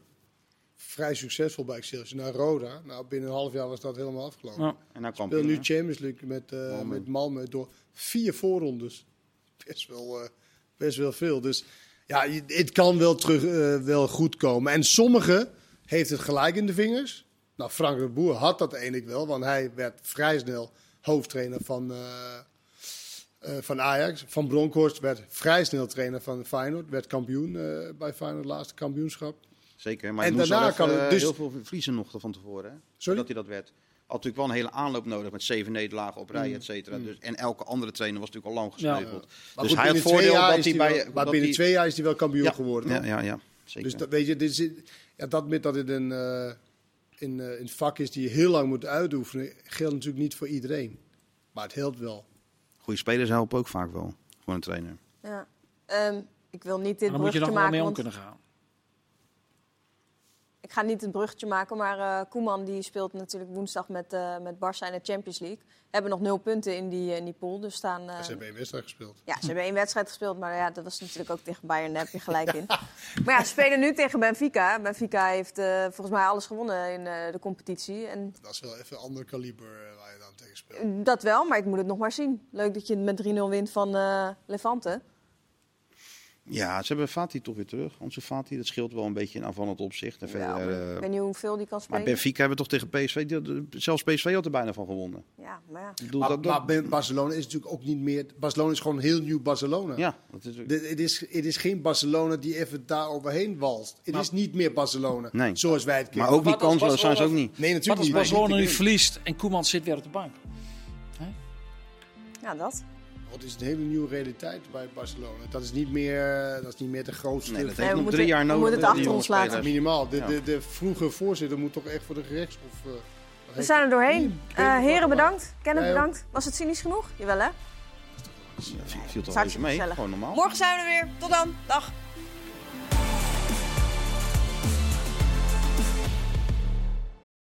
B: Vrij succesvol bij Excelsior. Naar Roda. Nou, binnen een half jaar was dat helemaal afgelopen.
D: ja,
C: En nou kwam
B: Speel nu Champions League met, eh
C: Malmö.
B: met Malmö door vier voorrondes. *laughs* Best wel, eh, best wel veel. Dus ja, je- het kan wel, terug, eh, wel goed komen. En sommigen heeft het gelijk in de vingers. Nou, Frank de Boer had dat eigenlijk wel, want hij werd vrij snel hoofdtrainer van, eh, eh, van Ajax. Van Bronkhorst werd vrij snel trainer van Feyenoord. Werd kampioen eh, bij Feyenoord, laatste kampioenschap.
C: Zeker, maar
B: En
C: en daarna
B: daarna
C: kan
B: kan het dus-
C: eh, heel veel vriezen nog van tevoren. Hè?
B: Sorry?
C: Dat hij dat werd. Had natuurlijk wel een hele aanloop nodig met zeven nederlagen op rij, et cetera. Dus, en elke andere trainer was natuurlijk al lang gesneuveld.
B: Maar
C: Dus
B: goed,
C: hij had
B: binnen
C: het
B: twee
C: voordeel
B: jaar is
C: dat hij
B: wel-
C: bij...
B: maar
C: dat
B: binnen
C: hij-
B: twee jaar is hij wel kampioen
C: ja,
B: geworden.
C: Ja,
B: hoor.
C: ja, ja, zeker.
B: Dus dat, weet je, dit zit- ja, dat met dat het een, eh, een, eh, een vak is die je heel lang moet uitoefenen, geldt natuurlijk niet voor iedereen. Maar het helpt wel.
C: Goede spelers helpen ook vaak wel voor een trainer.
A: ja. Ehm, ik wil niet dit
D: dan moet
A: bruggetje
D: je nog wel
A: maken.
D: mee om
A: want
D: kunnen gaan.
A: ik ga niet het bruggetje maken, maar eh, Koeman die speelt natuurlijk woensdag met, eh met Barça in de Champions League. Hebben nog nul punten in die, eh, in die pool. Dus staan, eh,
B: Ze hebben één wedstrijd gespeeld.
A: Ja, ze hebben één wedstrijd gespeeld, maar ja, dat was natuurlijk ook tegen Bayern, daar heb je gelijk in. Maar ja, ze spelen nu tegen Benfica. Benfica heeft eh, volgens mij alles gewonnen in eh, de competitie. En
B: Dat is wel even een ander kaliber eh, waar je dan tegen speelt.
A: dat wel, maar ik moet het nog maar zien. Leuk dat je met 3-0 wint van eh, Levante.
C: Ja, ze hebben Fatih toch weer terug. Onze Fatih, dat scheelt wel een beetje in aanvallend opzicht. En
A: Ja,
C: verder,
A: maar
C: eh,
A: ik weet niet hoeveel die kan
C: maar
A: spelen.
C: Benfica hebben toch tegen PSV... die hadden- zelfs PSV had er bijna van gewonnen.
A: Ja, maar ja.
C: Ik bedoel,
B: Maar,
C: dat, dat-
B: maar Ben- Barcelona is natuurlijk ook niet meer. Barcelona is gewoon heel nieuw Barcelona.
C: ja, dat is,
B: Dit- Het is, het is geen Barcelona die even daar overheen walst. Het is niet meer Barcelona,
C: Nee.
B: zoals wij het kennen.
C: maar ook niet
D: wat als
C: kansloos zijn ze ook
D: Barcelona-
C: niet.
B: Nee,
D: Wat
B: natuurlijk
D: als
B: niet.
D: Barcelona nu verliest en Koeman zit weer op de bank?
A: ja, dat.
B: Het is een hele nieuwe realiteit bij Barcelona. Dat is niet meer, eh, dat is niet meer de grootste.
C: Nee, dat
E: Nee,
C: heeft
E: we
C: nog
E: moeten-
C: drie jaar
E: we
C: nodig.
E: moeten het
C: hè,
E: achter
C: die
E: ons
C: jonge
E: laten.
C: spelers.
B: Minimaal. De,
C: Ja.
B: de, de vroege voorzitter moet toch echt voor de gerechtshof. eh,
E: We zijn er doorheen.
B: Ik weet
E: Eh
B: het
E: heren,
B: wel,
E: bedankt. Kennen
B: Jij ook.
E: bedankt. Was het cynisch genoeg? Jawel, hè?
C: Ja, viel- Viel toch
E: Hartstikke
C: even mee,
E: gezellig.
C: gewoon normaal.
E: Morgen zijn we er weer. Tot dan. Dag.